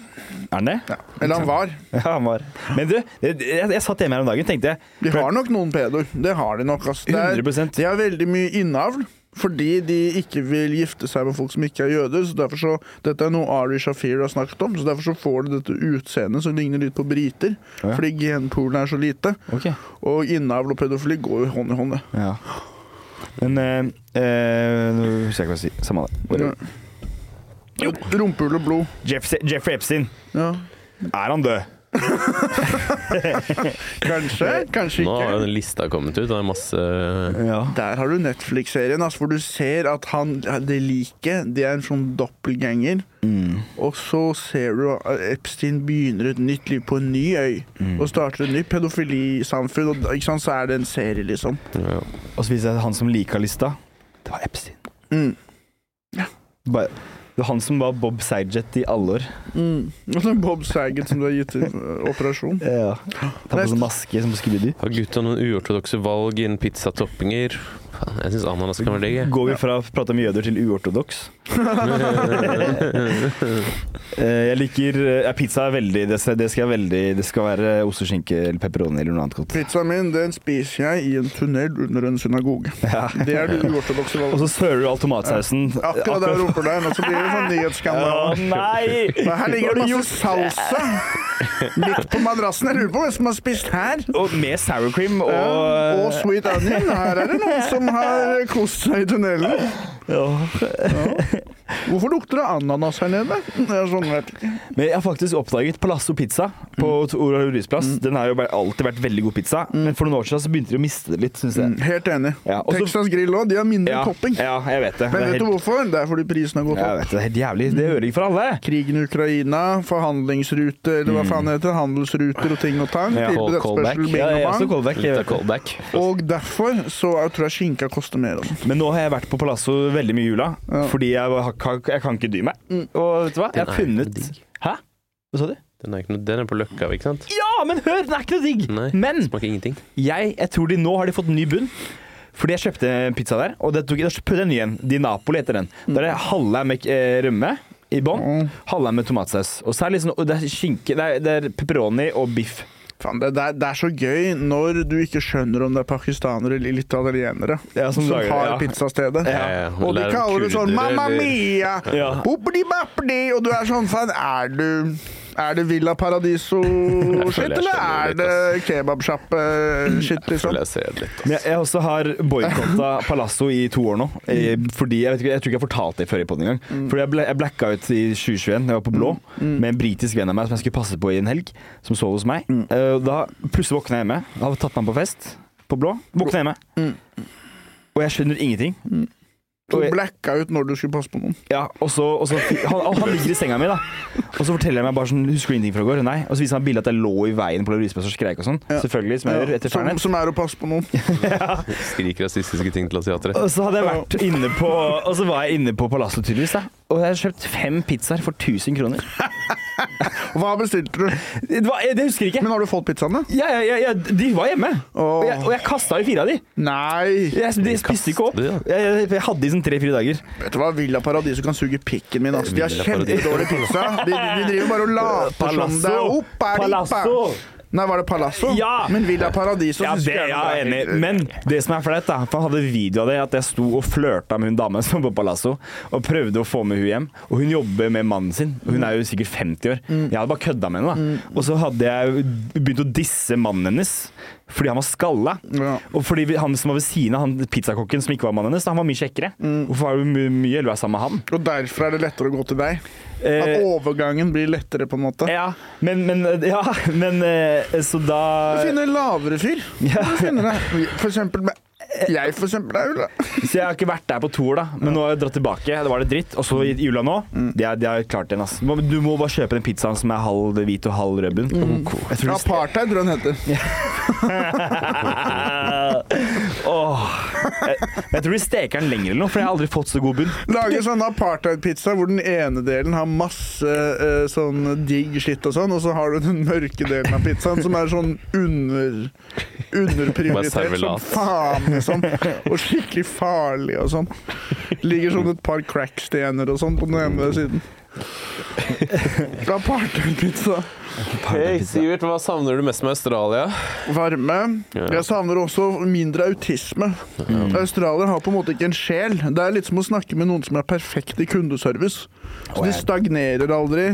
C: han det?
B: Ja. Eller han var.
C: Ja, han var Men du, jeg, jeg, jeg satt hjemme her om dagen tenkte jeg
B: De har nok noen pedoer. Det har de nok. ass. Det er,
C: 100
B: de har veldig mye innavl. Fordi de ikke vil gifte seg med folk som ikke er jøder. så derfor så, Dette er noe Ari Shafir har snakket om, så derfor så får de dette utseendet som ligner litt på briter.
C: Ja.
B: Fordi genpoolen er så lite.
C: Ok.
B: Og innavl og pedofili går jo hånd i hånd. det.
C: Ja. Men eh, eh, Nå husker jeg ikke hva jeg sier. Samme det.
B: Ja. Rumpehull og blod.
C: Jeff, Jeffrey Epstein.
B: Ja.
C: Er han død?
B: Kanskje, kanskje
A: Nå har jo
B: ikke.
A: den lista kommet ut, og det er masse eh,
C: Ja.
B: Der har du Netflix-serien, altså, hvor du ser at han, det liket det er en sånn doppelganger.
C: Mm.
B: Og så ser du at Epstein begynner et nytt liv på en ny øy.
C: Mm.
B: Og starter et nytt pedofilisamfunn. Og, ikke sant, så er det en serie, liksom.
A: ja.
C: Og så viser det seg at han som lika lista, det var Epstein.
B: Mm.
C: Bare, det var han som var Bob Sajet i alle år.
B: Mm. Og så Bob Saget som du har gitt i eh, operasjon.
C: Ja. Ta på sånn maske som på Scooby-Doo.
A: Har gutta noen uortodokse valg innen pizzatoppinger? Faen, Jeg syns ananas kan være digg. jeg.
C: Går vi fra å prate om jøder til uortodoks? Eh, jeg liker eh, ja, Pizza er veldig det skal, det skal, jeg veldig, det skal være ost og skinke eller pepperoni eller noe annet godt.
B: Pizzaen min den spiser jeg i en tunnel under en synagoge. Det er det uortodokse
C: Og
B: valget.
C: så sører du all tomatsausen.
B: Akkurat der roper deg, og så blir det sånn nyhetsskandale.
C: Å, nei!
B: Men her ligger det masse salsa midt på madrassen. Jeg lurer på hvem som har spist her.
C: Og med sour cream og,
B: Og Sweet Onion. Her er det noen som har kost seg i tunnelen.
C: eh, Ja.
B: Hvorfor lukter det ananas her nede? Det er sånn, vet ikke.
C: Men jeg har faktisk oppdaget Palazzo Pizza på
A: Mm.
C: Olav Rues plass. Den har jo bare alltid vært veldig god pizza, men for noen år siden så begynte de å miste det litt, syns
A: Mm.
C: jeg.
B: Helt enig.
C: Mm. Ja, og så-
B: Texas Grill òg, de har mindre
C: Ja,
B: topping.
C: ja, jeg vet det.
B: Men
C: Det er
B: vet du
C: helt-
B: hvorfor? Det er fordi prisen har gått
C: Jeg
B: opp.
C: vet det, det er helt jævlig. Det ødelegger for alle.
B: Krigen i Ukraina, forhandlingsrute, eller hva faen heter det, handelsruter og ting og tang.
C: Mm. Ja,
B: tilbudt et
A: callback.
B: spørsel,
C: Ja, jeg
B: bing
C: er
B: og
C: også
B: bang.
C: callback. jeg
A: Litt av
C: vet det.
A: callback.
B: Og derfor så jeg tror jeg skinka koster mer. Altså.
C: Men nå har jeg vært på Palazzo veldig mye i jula,
B: Ja.
C: fordi jeg, har- kan- jeg kan ikke dy meg. Og vet du hva? Jeg har
A: Mm. Den er ikke noe
C: funnet
A: digg.
C: Hæ? Hva sa du?
A: Den er, ikke noe, den er på Løkka, ikke sant?
C: Ja, men hør! Den er ikke noe digg!
A: Nei.
C: Men
A: Smaker ingenting.
C: jeg, jeg tror de nå har de fått ny bunn. Fordi jeg kjøpte en pizza der, og det tok, da prøvde jeg en ny en. Di Napoli heter den. Der er halve med eh, rømme i bånn, halve med tomatsaus. Og så er det, liksom, og det er skinke, det er, det er pepperoni og biff.
B: Faen, det, det, er, det er så gøy når du ikke skjønner om det er pakistanere eller italienere
C: Ja,
B: som,
C: lager det,
B: har
C: ja.
B: pizzastedet.
A: Ja, ja.
B: Og de
A: Eller
B: kaller det sånn
A: kurdere,
B: 'Mamma
A: eller-
B: mia'!
C: Ja.
B: Boppidi-bappidi! Og du er sånn faen Er du er det Villa
A: Jeg føler
B: Paradiso-shit,
A: jeg
B: eller
A: skjønner
B: er
A: litt,
B: det kebabsjappe-shit, liksom?
A: Føler jeg ser det litt.
C: Jeg, jeg også har boikotta Palazzo i to år nå. eh,
B: Mm.
C: Fordi Jeg, vet ikke, jeg tror ikke jeg fortalte det før i podden engang. Fordi jeg, ble, jeg blacka ut i 2021, jeg var på Blå,
B: Mm.
C: med en britisk venn av meg som jeg skulle passe på i en helg, som sov hos meg.
B: Mm.
C: Eh, og Da plutselig våkna jeg hjemme. Jeg
B: Mm.
C: hadde tatt meg på fest på Blå. Våkna hjemme. Og jeg skjønner ingenting.
B: Du
C: Og jeg-
B: blacka ut når du skulle passe på noen.
C: Ja, og så, og så han, han ligger i senga mi, da. Og så forteller jeg meg bare sånn Husker du ingenting fra i går? Nei. Og så viser han bildet at jeg lå i veien på Laurispes og skreik og sånn.
B: Ja.
C: Selvfølgelig. Som jeg gjør etter
B: som,
C: fernet.
B: som er å passe på noen.
A: Skrik rasistiske ting til asiatere.
C: Og så hadde jeg vært inne på Og så var jeg inne på Palazzo tydeligvis, da. Og jeg hadde kjøpt fem pizzaer for 1000 kroner.
B: Hva bestilte du?
C: Det, var, det husker jeg ikke.
B: Men har du fått pizzaen, da?
C: Ja, ja, ja, ja, de var hjemme. Og jeg, og jeg kasta i fire av de.
B: Nei!
C: Jeg, de spiste ikke opp.
A: de,
C: Jeg,
A: da?
C: jeg, jeg hadde de som tre-fire dager.
B: Vet du hva, Villa Paradiso kan suge pikken min. Altså. De har
A: Villa Paradiso.
B: kjempedårlig pizza. De, de driver bare og later som det er oppa,
C: Palazzo.
B: Nei, var det Palazzo?
C: Ja.
B: Men Villa Paradiso
C: Ja,
B: synes
C: det er
B: jeg
C: jeg enig
B: helt-
C: i. Men det som er flaut, da For han hadde video av det, at jeg sto og flørta med hun dama som var på Palazzo, og prøvde å få med hun hjem. Og hun jobber med mannen sin. og Hun er jo sikkert 50 år.
B: Mm.
C: Jeg hadde bare kødda med henne, da. Og så hadde jeg begynt å disse mannen hennes fordi han var skalla.
B: Ja.
C: Og fordi vi- han som var ved siden av han pizzakokken som ikke var mannen hennes, da, han var mye kjekkere.
B: Mm.
C: Hvorfor var du my- mye eller var jeg sammen med han?
B: Og derfor er det lettere å gå til deg. At
C: Eh,
B: overgangen blir lettere, på en måte.
C: ja, men, men Ja, men eh, Så da
B: Du finner en lavere fyr.
C: Ja.
B: Du finner deg. For eksempel med jeg, for eksempel, er jo la-
C: Så jeg har ikke vært der på to år, da. Men nå har jeg dratt tilbake. Det var det dritt. Og så i jula nå.
B: Mm.
C: Det er, det er klart igjen, ass. Du må, du må bare kjøpe den pizzaen som er halv hvit og halv rødbun.
B: Mm.
C: Jeg tror det
B: Apartheid, tror jeg den heter.
C: Åh. jeg, jeg tror de steker den lenger eller noe, for jeg har aldri fått så god bunn.
B: Lager sånn apartheid-pizza hvor den ene delen har masse eh, sånn digg skitt og sånn, og så har du den mørke delen av pizzaen som er sånn under underprioritert som
A: servelat.
B: faen, liksom. Og skikkelig farlig og sånn. Ligger sånn et par crackstener og sånn på den ene siden. Apartheid-pizza.
A: Hei, Sivert, hva savner du mest med Australia?
B: Varme.
A: Ja.
B: Jeg savner også mindre autisme. Australier har på en måte ikke en sjel. Det er litt som å snakke med noen som er perfekt i kundeservice. Så De stagnerer aldri.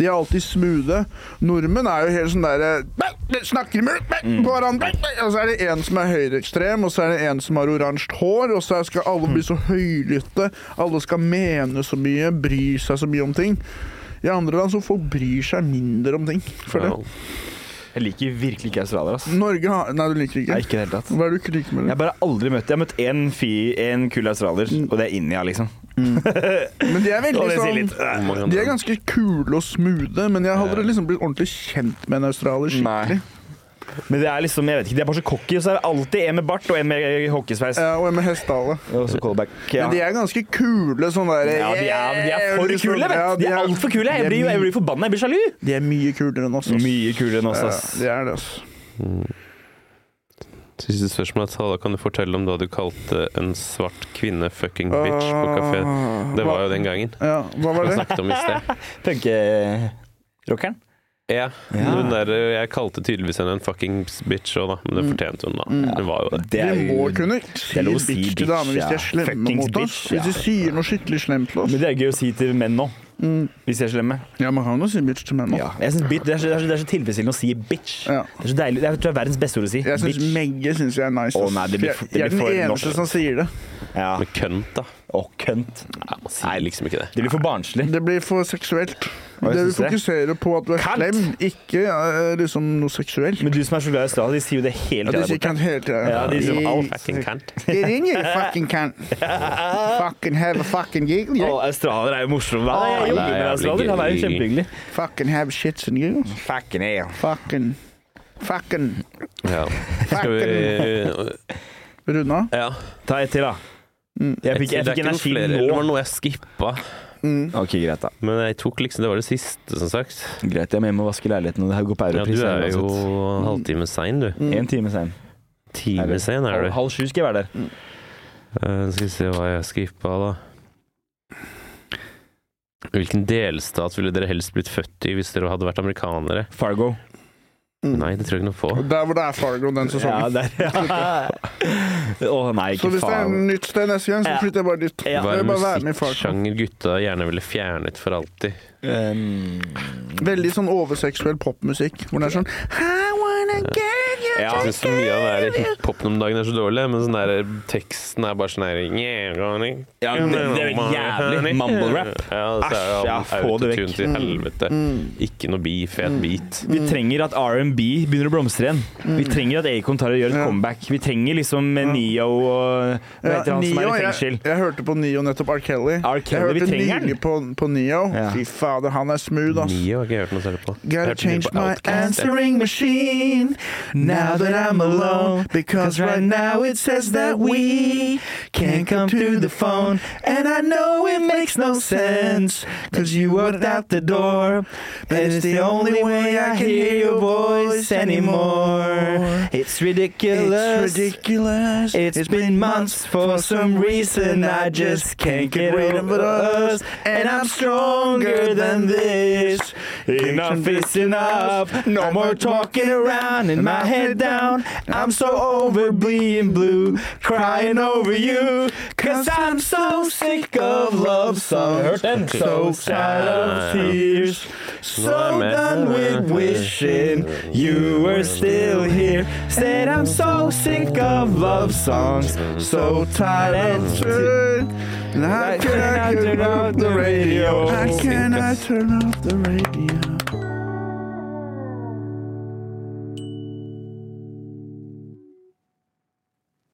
B: De er alltid smoothe. Nordmenn er jo helt sånn derre Snakker med på hverandre. Og så er det en som er høyreekstrem, og så er det en som har oransje hår, og så skal alle bli så høylytte. Alle skal mene så mye, bry seg så mye om ting. I andre land så folk bryr seg mindre om ting. Føler jeg.
C: Jeg liker virkelig ikke australiere, ass.
B: Norge har Nei, du liker ikke?
C: Nei, ikke i det hele tatt.
B: Hva er det du ikke liker med
C: Jeg har
B: det?
C: bare aldri møtt Jeg har møtt én fi- en kul australier, og det er India, liksom.
B: Men de Mm. er veldig
C: Og det sier
B: sånn
C: litt.
A: Hvor mange
B: De er
A: andre?
B: ganske kule og smoothe, men jeg hadde liksom blitt ordentlig kjent med en australier skikkelig.
C: Men det er liksom, jeg vet ikke, de er bare så cocky, og så er det alltid en med bart og en med hockeysveis.
B: Ja, og en med hestehale.
C: Og så callback. Ja.
B: Men de er ganske kule sånn der
C: Ja,
B: liksom.
C: de er, de er for kule, vet
B: sånn- Ja,
C: du. De er altfor kule.
B: de
C: Jeg
B: er
C: blir, jeg
B: mye-
C: blir forbanna, jeg blir sjalu.
B: De er mye kulere enn oss. ass.
C: Mye kulere enn oss,
B: Ja,
C: ass.
B: de er det, ass.
A: Siste spørsmål er Tala, kan du fortelle om da du kalte en svart kvinne fucking bitch på
C: Ah,
A: kafé? Det var jo den gangen.
B: Ja, Ah, hva var
A: Vi
B: det?
A: snakket om i sted.
C: eh, Punkerockeren.
A: Ja.
C: Ja.
A: Hun der, jeg kalte tydeligvis henne en fucking bitch òg, da. Men
C: Mm.
A: det fortjente hun, da. Hun var jo det.
C: Det
B: De
C: er
B: må
C: jo
B: kunne
C: er
B: si
C: lov å si
B: bitch
C: bitch,
B: til damer hvis de
C: ja.
B: er slemme
C: Fuckings
B: mot oss.
C: bitch, ja.
B: Hvis de sier noe skikkelig slemt til oss.
C: Men det er gøy å si til menn nå,
B: Mm.
C: hvis de er slemme.
B: Ja, man kan jo si bitch til menn òg.
C: Jeg synes bit- det, er så, det er så- det er så tilfredsstillende å si bitch.
B: Ja.
C: Det er så deilig. Det er, tror jeg er verdens beste ord å si.
B: Jeg syns
C: bitch.
B: Megge syns jeg er nice.
C: Å,
B: ass.
C: nei, det blir
B: Jeg-
C: for- det
B: jeg er
C: blir
B: den
C: for
B: eneste
C: norsk.
B: som sier det.
C: Ja.
A: Men kønt, da.
C: Å, kønt.
A: Nei, man sier liksom ikke det.
C: Det blir for barnslig.
B: Det blir for seksuelt.
C: Hva
B: Det vi
C: syns du?
B: fokuserer på at du er
C: Kant!
B: slem, ikke eh, liksom noe seksuelt.
C: Men du som er så glad i Australia, de sier jo det hele
B: Ja, de
C: tida.
B: sier
C: der borte.
B: kant hele tida.
C: Ja, de sier alt.
A: Liksom Fucking kønt.
B: Get in you, fucking cunt. Fucking have a fucking giggle.
C: Å,
B: yeah.
C: australier er jo morsom.
B: Ah,
C: Hva? Jeg
A: Å,
C: jobber
A: det er
C: med
A: jævlig
C: australier. Han er jo
A: gøy.
C: kjempehyggelig.
B: Fucking have shits and giggles.
C: Fucking hell.
B: Fucking Fucking
A: Ja. Skal vi
B: Runde av.
A: Ja.
C: Ta ett til, da.
B: Mm.
C: Jeg fikk, jeg
A: det er
C: fikk
A: ikke noe
C: energi
A: flere. Det var
C: nå.
A: noe jeg skippa.
C: Ok, greit, da.
A: Men jeg tok liksom Det var det siste, som sagt.
C: Greit, jeg må hjem og vaske leiligheten, og det her går på
A: Ja, du
C: europris.
A: er jo halvtime sein, du.
B: Mm.
C: En time sen.
A: Time sein er du.
C: Halv sju skal jeg være der.
A: Eh, skal vi se hva jeg skippa, da. Hvilken delstat ville dere helst blitt født i hvis dere hadde vært amerikanere?
C: Fargo.
A: Nei, det tror jeg ikke noe på.
B: Og Der hvor det er Fargo den
C: Ja,
B: sesongen.
C: der. Å nei,
B: så
C: ikke
B: hvis det er
C: faen.
B: nytt sted neste gang, så
C: Ja.
B: flytter jeg bare dit.
C: Ja.
A: Hva
B: Jeg
A: er
B: vil bare være med i Fargo.
A: musikksjanger gutta gjerne ville fjernet for alltid?
C: Um,
B: Veldig sånn overseksuell popmusikk. Hvor det er sånn I wanna get you
C: Ja.
A: Jeg syns mye av den der hiphopen om dagen er så dårlig, men sånn der teksten er bare sånn der yeah, honey.
C: Ja, det- det er vel jævlig mumble-rap.
A: Ja, så er
C: Æsj,
A: det
C: ja, få det
A: autotune
C: vekk. Mm.
A: til helvete.
B: Mm.
A: Ikke noe beef, fet beat.
C: Vi trenger at R&B begynner å blomstre igjen. Vi trenger at Acon tar og gjør et
B: Mm. Ja.
C: comeback. Vi trenger liksom eh, Neo og hva heter han som er
B: Neo,
C: i
B: jeg,
C: fengsel?
B: jeg hørte på Neo nettopp. R. Kelly.
C: R. Kelly,
B: jeg
C: vi
B: hørte
C: trenger han.
B: nylig på, på Neo.
C: Ja.
B: Fy fader, han er smooth, ass.
A: Mio har ikke jeg hørt noe særlig på. Jeg hørte
B: Gotta
A: mye
B: change
A: på
B: my
A: Outkast.
B: answering machine now that I'm alone. Because right now it says that we can't come through the phone. And I know it makes no sense. Cause you walked out the door. But it's the only way I can hear your voice anymore.
C: It's
B: It's
C: ridiculous.
B: ridiculous.
C: it's been months for some reason I just can't get rid of us. And I'm stronger than this. Enough is enough. No more talking around and my head down. I'm so over being blue, crying over you. Cause I'm so sick of love songs. So tired of tears. So done with wishing you were still here. Said I'm so sick of love songs. So tired and
B: And how can I turn off the radio? How can I turn off the radio?